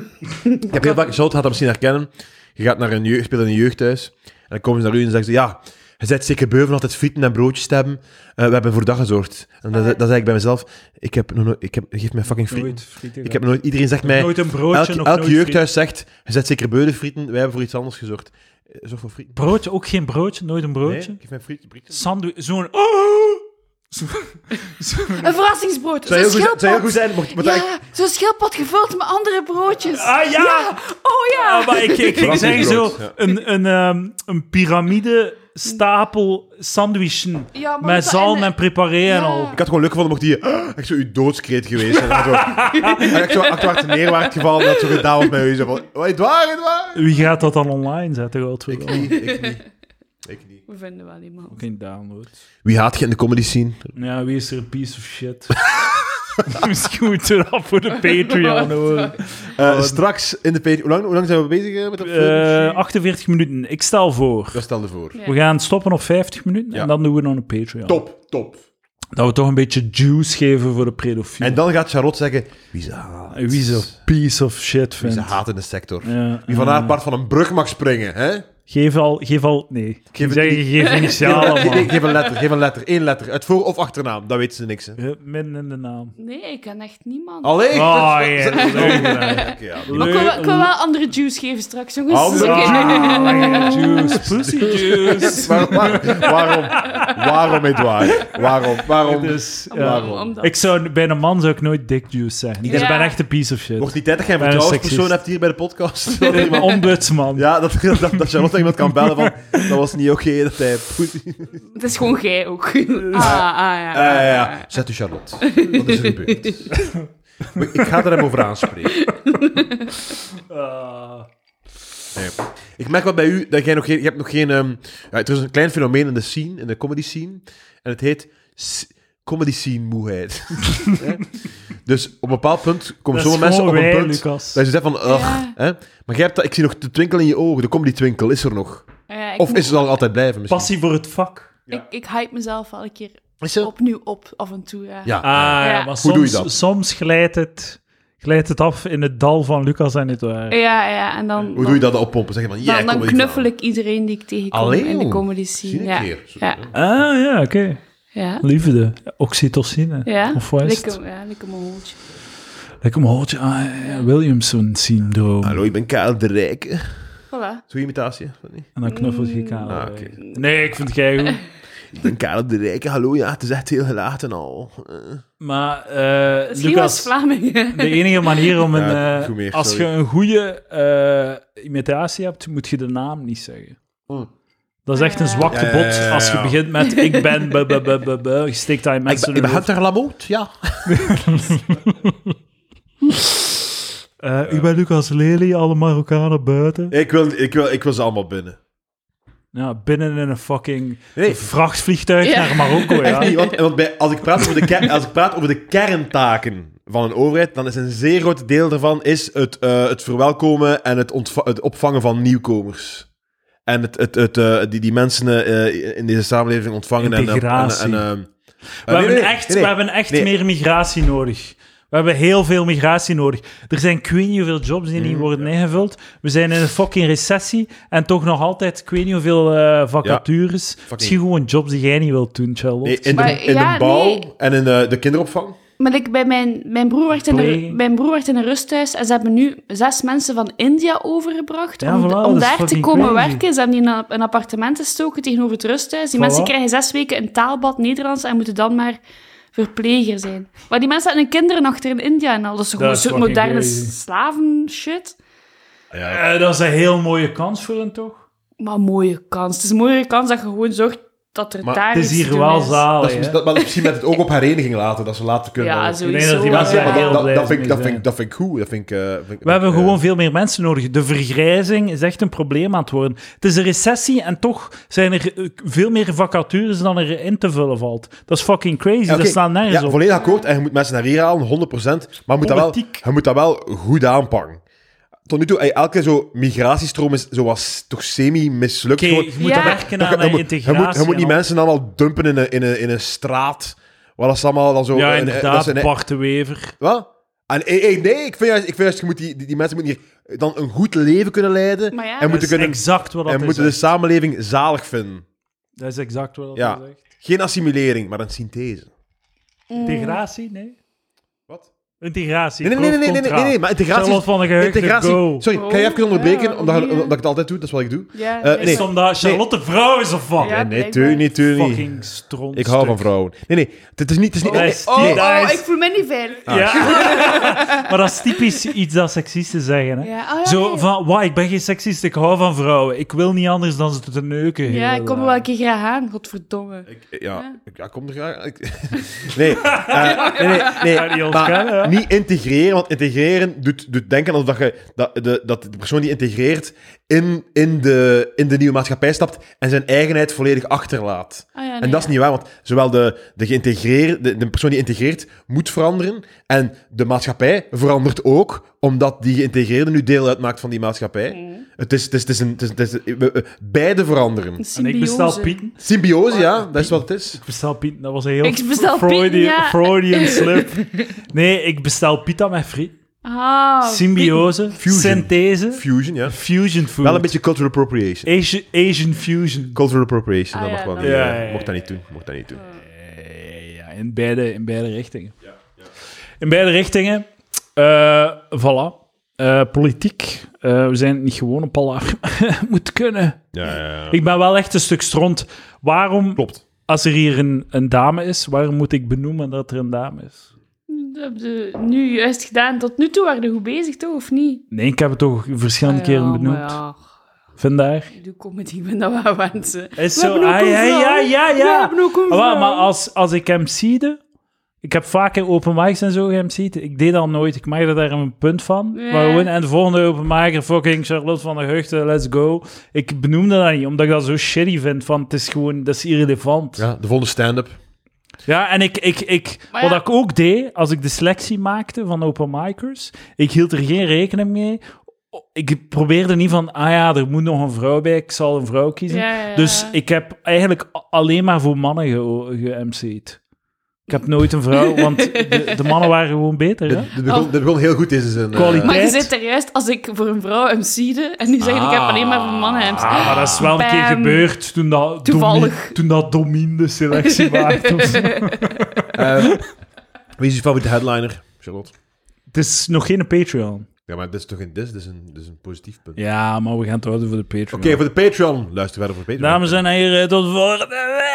Speaker 2: Ik heb heel vaak, Charlotte gaat dat misschien herkennen. Je gaat naar een jeugd, speelt in een jeugdhuis. En dan komen ze naar u en zeggen ze, ja, je bent zeker beu van altijd frieten en broodjes te hebben. Eh, we hebben voor dat gezorgd. En dan, dan zeg ik bij mezelf, ik heb, nog nooit- ik heb, geef mij fucking frieten.
Speaker 5: Nooit frieten
Speaker 2: Ik heb nooit, iedereen zegt mij,
Speaker 5: nooit een
Speaker 2: elk,
Speaker 5: broodje, nog
Speaker 2: elk
Speaker 5: nooit
Speaker 2: jeugdhuis zegt, je bent zeker beu de frieten, wij hebben voor iets anders gezorgd. Eh, Zorg voor frieten.
Speaker 5: frieten. Broodje, ook geen broodje, nooit een broodje.
Speaker 2: Nee, geef mij frieten. frieten.
Speaker 5: Sandwich, zo'n... Oh! Zo- zo'n-
Speaker 3: Een verrassingsbrood.
Speaker 2: Zou heel goed zijn-
Speaker 3: Zo'n
Speaker 2: zou heel
Speaker 3: schildpad.
Speaker 2: goed zijn, mocht, mocht eigenlijk-
Speaker 3: Ja, zo'n schildpad gevuld met andere broodjes.
Speaker 5: Ah ja!
Speaker 3: Oh ja!
Speaker 5: Ah, maar ik, ik ging
Speaker 2: Verrassend
Speaker 5: zeggen zo,
Speaker 2: groot, ja.
Speaker 5: een, een, ehm, een piramide stapel sandwichen
Speaker 3: Ja, maar
Speaker 5: met
Speaker 3: dat-
Speaker 5: zalm
Speaker 3: en-
Speaker 5: en, preparé en
Speaker 3: Ja.
Speaker 5: al.
Speaker 2: Ik had gewoon leuk gevonden mocht die eh, echt zo uw doodskreet geweest zijn. En zo, en echt zo achterwaarts neerwaard gevallen en dat zo gedaan was met u. Zo van, "Oh, het waar, het waar.
Speaker 5: Wie gaat dat dan online zetten? Godverdomme?
Speaker 2: Ik niet, ik niet. Ik niet.
Speaker 3: We vinden wel iemand.
Speaker 5: Geen downloads.
Speaker 2: Wie haat je in de comedy scene?
Speaker 5: Ja, wie is er een piece of shit? Misschien moeten we dat voor de Patreon horen.
Speaker 2: Eh, straks in de Patreon. Hoe lang, hoe lang zijn we bezig eh, met dat?
Speaker 5: Eh,
Speaker 2: Uh,
Speaker 5: 48 minuten. Ik stel voor.
Speaker 2: dat stelde voor.
Speaker 3: Ja.
Speaker 5: We gaan stoppen op 50 minuten
Speaker 2: Ja.
Speaker 5: en dan doen we nog een Patreon.
Speaker 2: Top, top.
Speaker 5: Dat we toch een beetje juice geven voor de pedofiel.
Speaker 2: En dan gaat Charlotte zeggen wie ze haat.
Speaker 5: En wie zo'n piece of shit
Speaker 2: Wie ze
Speaker 5: vindt.
Speaker 2: haat in de sector.
Speaker 5: Ja,
Speaker 2: Wie van haar part van een brug mag springen. Hè?
Speaker 5: Geef al, geef al, nee.
Speaker 2: Geef
Speaker 5: Geef,
Speaker 2: het-
Speaker 5: zeg, geef initialen,
Speaker 2: Nee, nee,
Speaker 5: man.
Speaker 2: geef een letter, geef een letter. Eén letter. Uit voor- of achternaam. Dat weten ze niks. Hè.
Speaker 5: Eh, Min in de naam.
Speaker 3: Nee, ik ken echt niemand.
Speaker 2: Allee.
Speaker 5: Oh,
Speaker 2: dat-
Speaker 5: ja.
Speaker 2: dat-
Speaker 5: Leuk,
Speaker 2: dat- Oké, ja.
Speaker 3: Maar ik wil, wel- ik wil wel andere juice geven straks, jongens.
Speaker 2: Andere
Speaker 3: Dus, oké.
Speaker 5: Ah, Juice, pussy juice.
Speaker 2: Waar- waar- waarom? Waarom, Edouard? Waarom? Waarom?
Speaker 5: Dus, ja.
Speaker 3: Waarom?
Speaker 2: Waarom?
Speaker 3: Omdat-
Speaker 5: Ik zou, bij een man zou ik nooit dick juice zeggen. Ik
Speaker 3: Ja.
Speaker 5: ben echt een piece of shit.
Speaker 2: Wordt niet tijd dat jij een
Speaker 5: Ben een
Speaker 2: vertrouwenspersoon hebt
Speaker 5: seksist.
Speaker 2: hier bij de podcast? Dat
Speaker 5: Een
Speaker 2: iemand-
Speaker 5: ombudsman.
Speaker 2: Ja, dat, dat, dat, dat Charlotte iemand kan bellen van... Dat was niet oké dat hij... Poetin-
Speaker 3: Het is gewoon jij ook. Ah, ah ja.
Speaker 2: Ah, ja, ja. Zet u Charlotte. Wat is er gebeurd? Maar Ik ga er hem over aanspreken.
Speaker 5: Ah.
Speaker 2: Nee. Ik merk wel bij u dat jij nog geen... Je hebt nog geen... ehm, ja, er is een klein fenomeen in de scene, in de comedy scene. En het heet... s- comedy scene moeheid. Hè? dus op een bepaald punt komen
Speaker 5: Dat is
Speaker 2: sommige mensen op
Speaker 5: gewoon
Speaker 2: een
Speaker 5: wij,
Speaker 2: punt
Speaker 5: Lucas.
Speaker 2: dat je zegt van, ugh,
Speaker 3: Ja.
Speaker 2: hè? maar jij hebt dat, ik zie nog de twinkel in je ogen, de comedy twinkel is er nog.
Speaker 3: Ja, ik,
Speaker 2: Of
Speaker 3: moet-
Speaker 2: is het al altijd blijven misschien?
Speaker 5: Passie voor het vak.
Speaker 3: ik, ik hype mezelf wel een keer
Speaker 2: Is ze?
Speaker 3: opnieuw op, af en toe. Ja.
Speaker 2: Ja.
Speaker 5: Ah, ja,
Speaker 3: Ja.
Speaker 5: maar
Speaker 2: Hoe
Speaker 5: soms,
Speaker 2: doe je dat?
Speaker 5: soms glijdt, het, glijdt het af in het dal van Lucas en het waar.
Speaker 3: ja, ja, En dan,
Speaker 2: Hoe doe je dat dan oppompen? Zeg je van,
Speaker 3: Dan,
Speaker 2: yeah,
Speaker 3: dan
Speaker 2: comedy
Speaker 3: knuffel
Speaker 2: verhaal.
Speaker 3: ik iedereen die ik tegenkom
Speaker 2: Allee,
Speaker 3: in de
Speaker 2: joh.
Speaker 3: comedy
Speaker 2: Zie
Speaker 3: scene.
Speaker 2: een
Speaker 3: Ja.
Speaker 2: keer. Zo,
Speaker 3: Ja.
Speaker 2: hè?
Speaker 5: Ah, ja, oké.
Speaker 3: Ja.
Speaker 5: Liefde. Oxytocine.
Speaker 3: Ja,
Speaker 5: Of wat is
Speaker 3: lekker,
Speaker 5: het?
Speaker 3: ja, lekker mijn hoeltje.
Speaker 5: Lekker mijn hoortje. Ah, ja, ja, Williamson-syndroom.
Speaker 2: Hallo, ik ben Karel de Rijke.
Speaker 3: Voilà.
Speaker 2: Zo'n imitatie? of niet?
Speaker 5: En dan knuffelt je kaal.
Speaker 2: Ah, oké.
Speaker 5: Nee, ik vind het jij goed.
Speaker 2: Ik ben Karel de Rijke, hallo, ja, het is echt heel gelaten al. Eh.
Speaker 5: Maar eh,
Speaker 3: Het is Lucas
Speaker 5: Lucas,
Speaker 3: Vlamingen.
Speaker 5: de enige manier om een...
Speaker 2: Ja,
Speaker 5: eh,
Speaker 2: goed meer,
Speaker 5: als je
Speaker 2: sorry.
Speaker 5: een goede eh, imitatie hebt, moet je de naam niet zeggen.
Speaker 2: Mm.
Speaker 5: Dat is echt een
Speaker 3: Ja.
Speaker 5: zwakte
Speaker 2: Ja, ja,
Speaker 5: bot.
Speaker 2: ja, ja,
Speaker 5: Als je
Speaker 2: ja.
Speaker 5: begint met ik ben... bu- bu- bu- bu- bu, je steekt daar in
Speaker 2: Ik ben-
Speaker 5: mensen
Speaker 2: ik ben
Speaker 5: hun hoofd.
Speaker 2: Hunter Lamoot, ja.
Speaker 5: Eh, U bent Lucas Lely, alle Marokkanen buiten.
Speaker 2: Ik wil, ik, wil, ik wil ze allemaal binnen.
Speaker 5: Ja, binnen in een fucking
Speaker 2: Nee.
Speaker 5: vrachtvliegtuig
Speaker 3: Ja.
Speaker 5: naar Marokko. Ja.
Speaker 2: Echt niet, Ah, want, want bij, als, ik praat over de ker- als ik praat over de kerntaken van een overheid, dan is een zeer groot deel daarvan is het, eh, het verwelkomen en het, ontva- het opvangen van nieuwkomers. En het, het, het, eh, die, die mensen eh, in deze samenleving ontvangen. en, eh,
Speaker 5: Integratie.
Speaker 2: En, eh, en, eh,
Speaker 5: We,
Speaker 2: eh, nee, nee,
Speaker 5: hebben
Speaker 2: nee,
Speaker 5: echt,
Speaker 2: nee,
Speaker 5: we
Speaker 2: nee.
Speaker 5: hebben echt
Speaker 2: Nee.
Speaker 5: meer migratie nodig. We hebben heel veel migratie nodig. Er zijn ik weet niet hoeveel jobs die
Speaker 2: Mm,
Speaker 5: niet worden ingevuld. We zijn in een fucking recessie en toch nog altijd ik weet niet hoeveel eh, vacatures. Misschien gewoon jobs die jij niet wilt doen, Charlotte.
Speaker 2: Nee, in de,
Speaker 3: Maar
Speaker 2: in
Speaker 3: ja,
Speaker 2: de bouw
Speaker 3: nee.
Speaker 2: en in eh, de, de kinderopvang.
Speaker 3: Maar ik, bij mijn, mijn, broer werd in
Speaker 5: Pleging.
Speaker 3: een, mijn broer werd in een rusthuis en ze hebben nu zes mensen van India overgebracht
Speaker 5: Ja,
Speaker 3: om,
Speaker 5: voilà, dat
Speaker 3: om
Speaker 5: is
Speaker 3: daar te
Speaker 5: fucking
Speaker 3: komen
Speaker 5: crazy.
Speaker 3: werken. Ze hebben die in een, een appartement gestoken tegenover het rusthuis. Die
Speaker 5: Voilà.
Speaker 3: mensen krijgen zes weken een taalbad Nederlands en moeten dan maar verpleger zijn. Maar die mensen hadden hun kinderen achter in India en al. Dat is gewoon
Speaker 5: is
Speaker 3: zo'n
Speaker 5: fucking
Speaker 3: moderne
Speaker 5: crazy.
Speaker 3: slaven-shit.
Speaker 5: Eh, dat is een heel mooie kans voor hen, toch?
Speaker 3: Maar een mooie kans. Het is een mooie kans dat je gewoon zorgt dat er
Speaker 2: Maar
Speaker 3: daar
Speaker 5: Het is
Speaker 3: iets te
Speaker 5: hier
Speaker 3: doen
Speaker 5: wel
Speaker 3: is.
Speaker 2: dat
Speaker 5: zalig,
Speaker 2: is,
Speaker 5: hè?
Speaker 2: dat, maar misschien met het oog op hereniging laten, dat ze later kunnen.
Speaker 3: Ja,
Speaker 2: dat-
Speaker 3: sowieso.
Speaker 5: Ik denk dat die
Speaker 3: wel,
Speaker 5: mensen
Speaker 3: ja.
Speaker 2: maar
Speaker 5: heel
Speaker 2: dat, dat,
Speaker 5: blij
Speaker 2: dat, vind ik,
Speaker 5: mee
Speaker 2: dat,
Speaker 5: zijn.
Speaker 2: vind ik, dat vind ik goed. Dat vind ik, eh, vind ik-
Speaker 5: We hebben
Speaker 2: eh,
Speaker 5: gewoon veel meer mensen nodig. De vergrijzing is echt een probleem aan het worden. Het is een recessie en toch zijn er eh, veel meer vacatures dan er in te vullen valt. Dat is fucking crazy.
Speaker 2: Ja, oké.
Speaker 5: Dat staat nergens
Speaker 2: ja,
Speaker 5: op.
Speaker 2: volledig akkoord. En je moet mensen naar hier halen, 100%. Maar je moet, dat wel,
Speaker 5: Politiek.
Speaker 2: je moet dat wel goed aanpakken. Tot nu toe, ey, elke zo migratiestroom is zo was toch semi-mislukt.
Speaker 5: Oké,
Speaker 2: Gewoon-
Speaker 5: je moet
Speaker 3: Ja.
Speaker 5: werken
Speaker 2: dat-
Speaker 5: aan
Speaker 2: dat
Speaker 5: eh,
Speaker 2: moet-
Speaker 5: integratie.
Speaker 2: Je moet, je moet
Speaker 5: en
Speaker 2: niet
Speaker 5: al.
Speaker 2: mensen allemaal dumpen in een, in een, in een straat. Waar dat ze allemaal dan zo...
Speaker 5: Ja,
Speaker 2: eh, eh, dat
Speaker 5: inderdaad.
Speaker 2: ze-
Speaker 5: Bart de Wever.
Speaker 2: Wat? En, eh, eh, nee, ik vind juist, ik vind juist je moet die, die, die mensen moeten hier dan een goed leven kunnen leiden.
Speaker 3: Maar ja,
Speaker 2: en
Speaker 5: Dat
Speaker 2: moeten,
Speaker 5: is
Speaker 2: kunnen,
Speaker 5: exact wat dat
Speaker 2: en
Speaker 5: is.
Speaker 2: moeten
Speaker 5: hè.
Speaker 2: de samenleving zalig vinden.
Speaker 5: Dat is exact wat dat
Speaker 2: Ja.
Speaker 5: is. echt.
Speaker 2: Geen assimilering, maar een synthese.
Speaker 5: Integratie? Nee.
Speaker 2: Wat?
Speaker 5: Integratie.
Speaker 2: Nee, nee, nee, nee, nee, nee, nee, nee, maar integratie is-
Speaker 5: Charlotte van de Geheugde,
Speaker 2: Integratie.
Speaker 5: go.
Speaker 2: Sorry, kan je even
Speaker 3: Oh,
Speaker 2: onderbreken?
Speaker 3: ja,
Speaker 2: omdat, je-
Speaker 3: nee,
Speaker 2: omdat ik het altijd doe, dat is wat ik doe.
Speaker 3: Ja,
Speaker 2: Eh, nee.
Speaker 5: Is het omdat Charlotte vrouw is of wat?
Speaker 3: Ja, blijkbaar.
Speaker 2: niet, tuurlijk
Speaker 5: Fucking stront.
Speaker 2: Ik hou van vrouwen. Nee, nee, het is niet... Het is niet
Speaker 5: Oh,
Speaker 2: nee,
Speaker 5: is
Speaker 3: Oh,
Speaker 5: Nee.
Speaker 3: oh,
Speaker 5: Nice.
Speaker 3: ik voel me niet veilig.
Speaker 5: Ah. Ja. maar dat is typisch iets dat seksisten zeggen. Hè?
Speaker 3: Ja, oh, ja,
Speaker 5: Zo
Speaker 3: ja.
Speaker 5: van, wauw, ik ben geen seksist, ik hou van vrouwen. Ik wil niet anders dan ze te neuken.
Speaker 3: Ja,
Speaker 5: heel
Speaker 3: ik kom er
Speaker 5: dag."
Speaker 3: wel een keer graag aan, godverdomme. Ah,
Speaker 2: ik- ja, ik ja, kom er graag... ik- nee, eh, nee, nee,
Speaker 5: Ja, die
Speaker 2: nee.
Speaker 5: ontkennen, hè.
Speaker 2: Maar niet integreren, want integreren doet, doet denken alsof dat, je, dat, de, dat de persoon die integreert in, in, de, in de nieuwe maatschappij stapt en zijn eigenheid volledig achterlaat.
Speaker 3: Ah, ja,
Speaker 2: En
Speaker 3: nee,
Speaker 2: dat is
Speaker 3: ja.
Speaker 2: niet waar, want zowel de, de, geïntegreerde, de, de persoon die integreert moet veranderen en de maatschappij verandert ook, omdat die geïntegreerde nu deel uitmaakt van die maatschappij.
Speaker 3: Mm.
Speaker 2: Het is, het is, het is een... Het is, het is, we- we- beide veranderen.
Speaker 3: Een
Speaker 5: En ik bestel
Speaker 3: symbiose.
Speaker 5: pieten.
Speaker 2: Symbiose, ja, dat is wat het is.
Speaker 5: Ik bestel pieten, dat was een heel
Speaker 3: Ik bestel
Speaker 5: Freudian,
Speaker 3: pieten, ja.
Speaker 5: Freudian slip. Nee, ik bestel pita met friet.
Speaker 3: Ah,
Speaker 5: Symbiose,
Speaker 2: Fusion.
Speaker 5: synthese,
Speaker 2: Fusion, ja.
Speaker 5: fusion food.
Speaker 2: Wel een beetje cultural appropriation.
Speaker 5: Asian, Asian fusion.
Speaker 2: Cultural appropriation,
Speaker 3: Ah,
Speaker 2: dat
Speaker 3: ja,
Speaker 2: mag wel
Speaker 3: dat-
Speaker 2: niet.
Speaker 5: Ja,
Speaker 2: eh,
Speaker 5: ja, ja,
Speaker 2: Mocht dat niet doen, mocht dat niet doen.
Speaker 5: Eh, ja, in beide, in beide richtingen. In beide richtingen. Eh voilà. Eh, politiek. Eh, we zijn het niet gewoon op alle moet kunnen.
Speaker 2: Ja, ja, ja.
Speaker 5: Ik ben wel echt een stuk stront. Waarom,
Speaker 2: Klopt.
Speaker 5: als er hier een, een dame is, waarom moet ik benoemen dat er een dame is?
Speaker 3: pieten. Dat heb je nu juist gedaan. Tot nu toe waren we goed bezig, toch? Of niet?
Speaker 5: Nee, ik heb het toch verschillende keren
Speaker 3: Ah, Ja, maar
Speaker 5: benoemd.
Speaker 3: ja,
Speaker 5: Vandaar.
Speaker 3: ik doe comedy, ik ben dat wel wensen.
Speaker 5: Is
Speaker 3: We
Speaker 5: zo,
Speaker 3: hebben ook
Speaker 5: ah,
Speaker 3: een
Speaker 5: ja,
Speaker 3: vrouw.
Speaker 5: ja, ja,
Speaker 3: We
Speaker 5: ja.
Speaker 3: hebben ook een
Speaker 5: Ah, wel,
Speaker 3: vrouw.
Speaker 5: maar als, als ik hem ziede, ik heb vaker open mics en zo geemceed. Ik deed dat nooit. Ik maakte daar een punt van.
Speaker 3: Ja.
Speaker 5: Maar gewoon, en de volgende open micer, fucking Charlotte van der Heugde, let's go. Ik benoemde dat niet, omdat ik dat zo shitty vind. Van, het is gewoon, dat is irrelevant.
Speaker 2: Ja, de volgende stand-up.
Speaker 5: Ja, en ik, ik, ik,
Speaker 3: Maar
Speaker 5: wat
Speaker 3: ja.
Speaker 5: ik ook deed, als ik de selectie maakte van open micers, ik hield er geen rekening mee. Ik probeerde niet van, ah ja, er moet nog een vrouw bij, ik zal een vrouw kiezen.
Speaker 3: Ja, ja, ja.
Speaker 5: Dus ik heb eigenlijk a- alleen maar voor mannen ge- ge-MC'd. Ik heb nooit een vrouw, want de, de mannen waren gewoon beter. Hè?
Speaker 2: Dit dit begon,
Speaker 3: Oh.
Speaker 2: dit begon heel goed in zijn... eh,
Speaker 5: Kwaliteit.
Speaker 3: Maar je
Speaker 5: Tijd.
Speaker 3: zit er juist als ik voor een vrouw MC'de en nu zeg ik, ik heb alleen maar voor mannen MC'de.
Speaker 5: Ah, maar dat is wel een keer
Speaker 3: Bam.
Speaker 5: gebeurd toen dat,
Speaker 3: Toevallig.
Speaker 5: Domi- toen dat Domien de selectie maakte. of zo.
Speaker 2: eh, wie is je favoriete headliner, Charlotte?
Speaker 5: Het is nog geen Patreon.
Speaker 2: Ja, maar dit is toch een dis, dit is een, dit is een positief punt.
Speaker 5: Ja, maar we gaan het houden voor de Patreon.
Speaker 2: Oké, voor de Patreon. Luister verder voor de Patreon.
Speaker 5: Dames en heren, tot volgende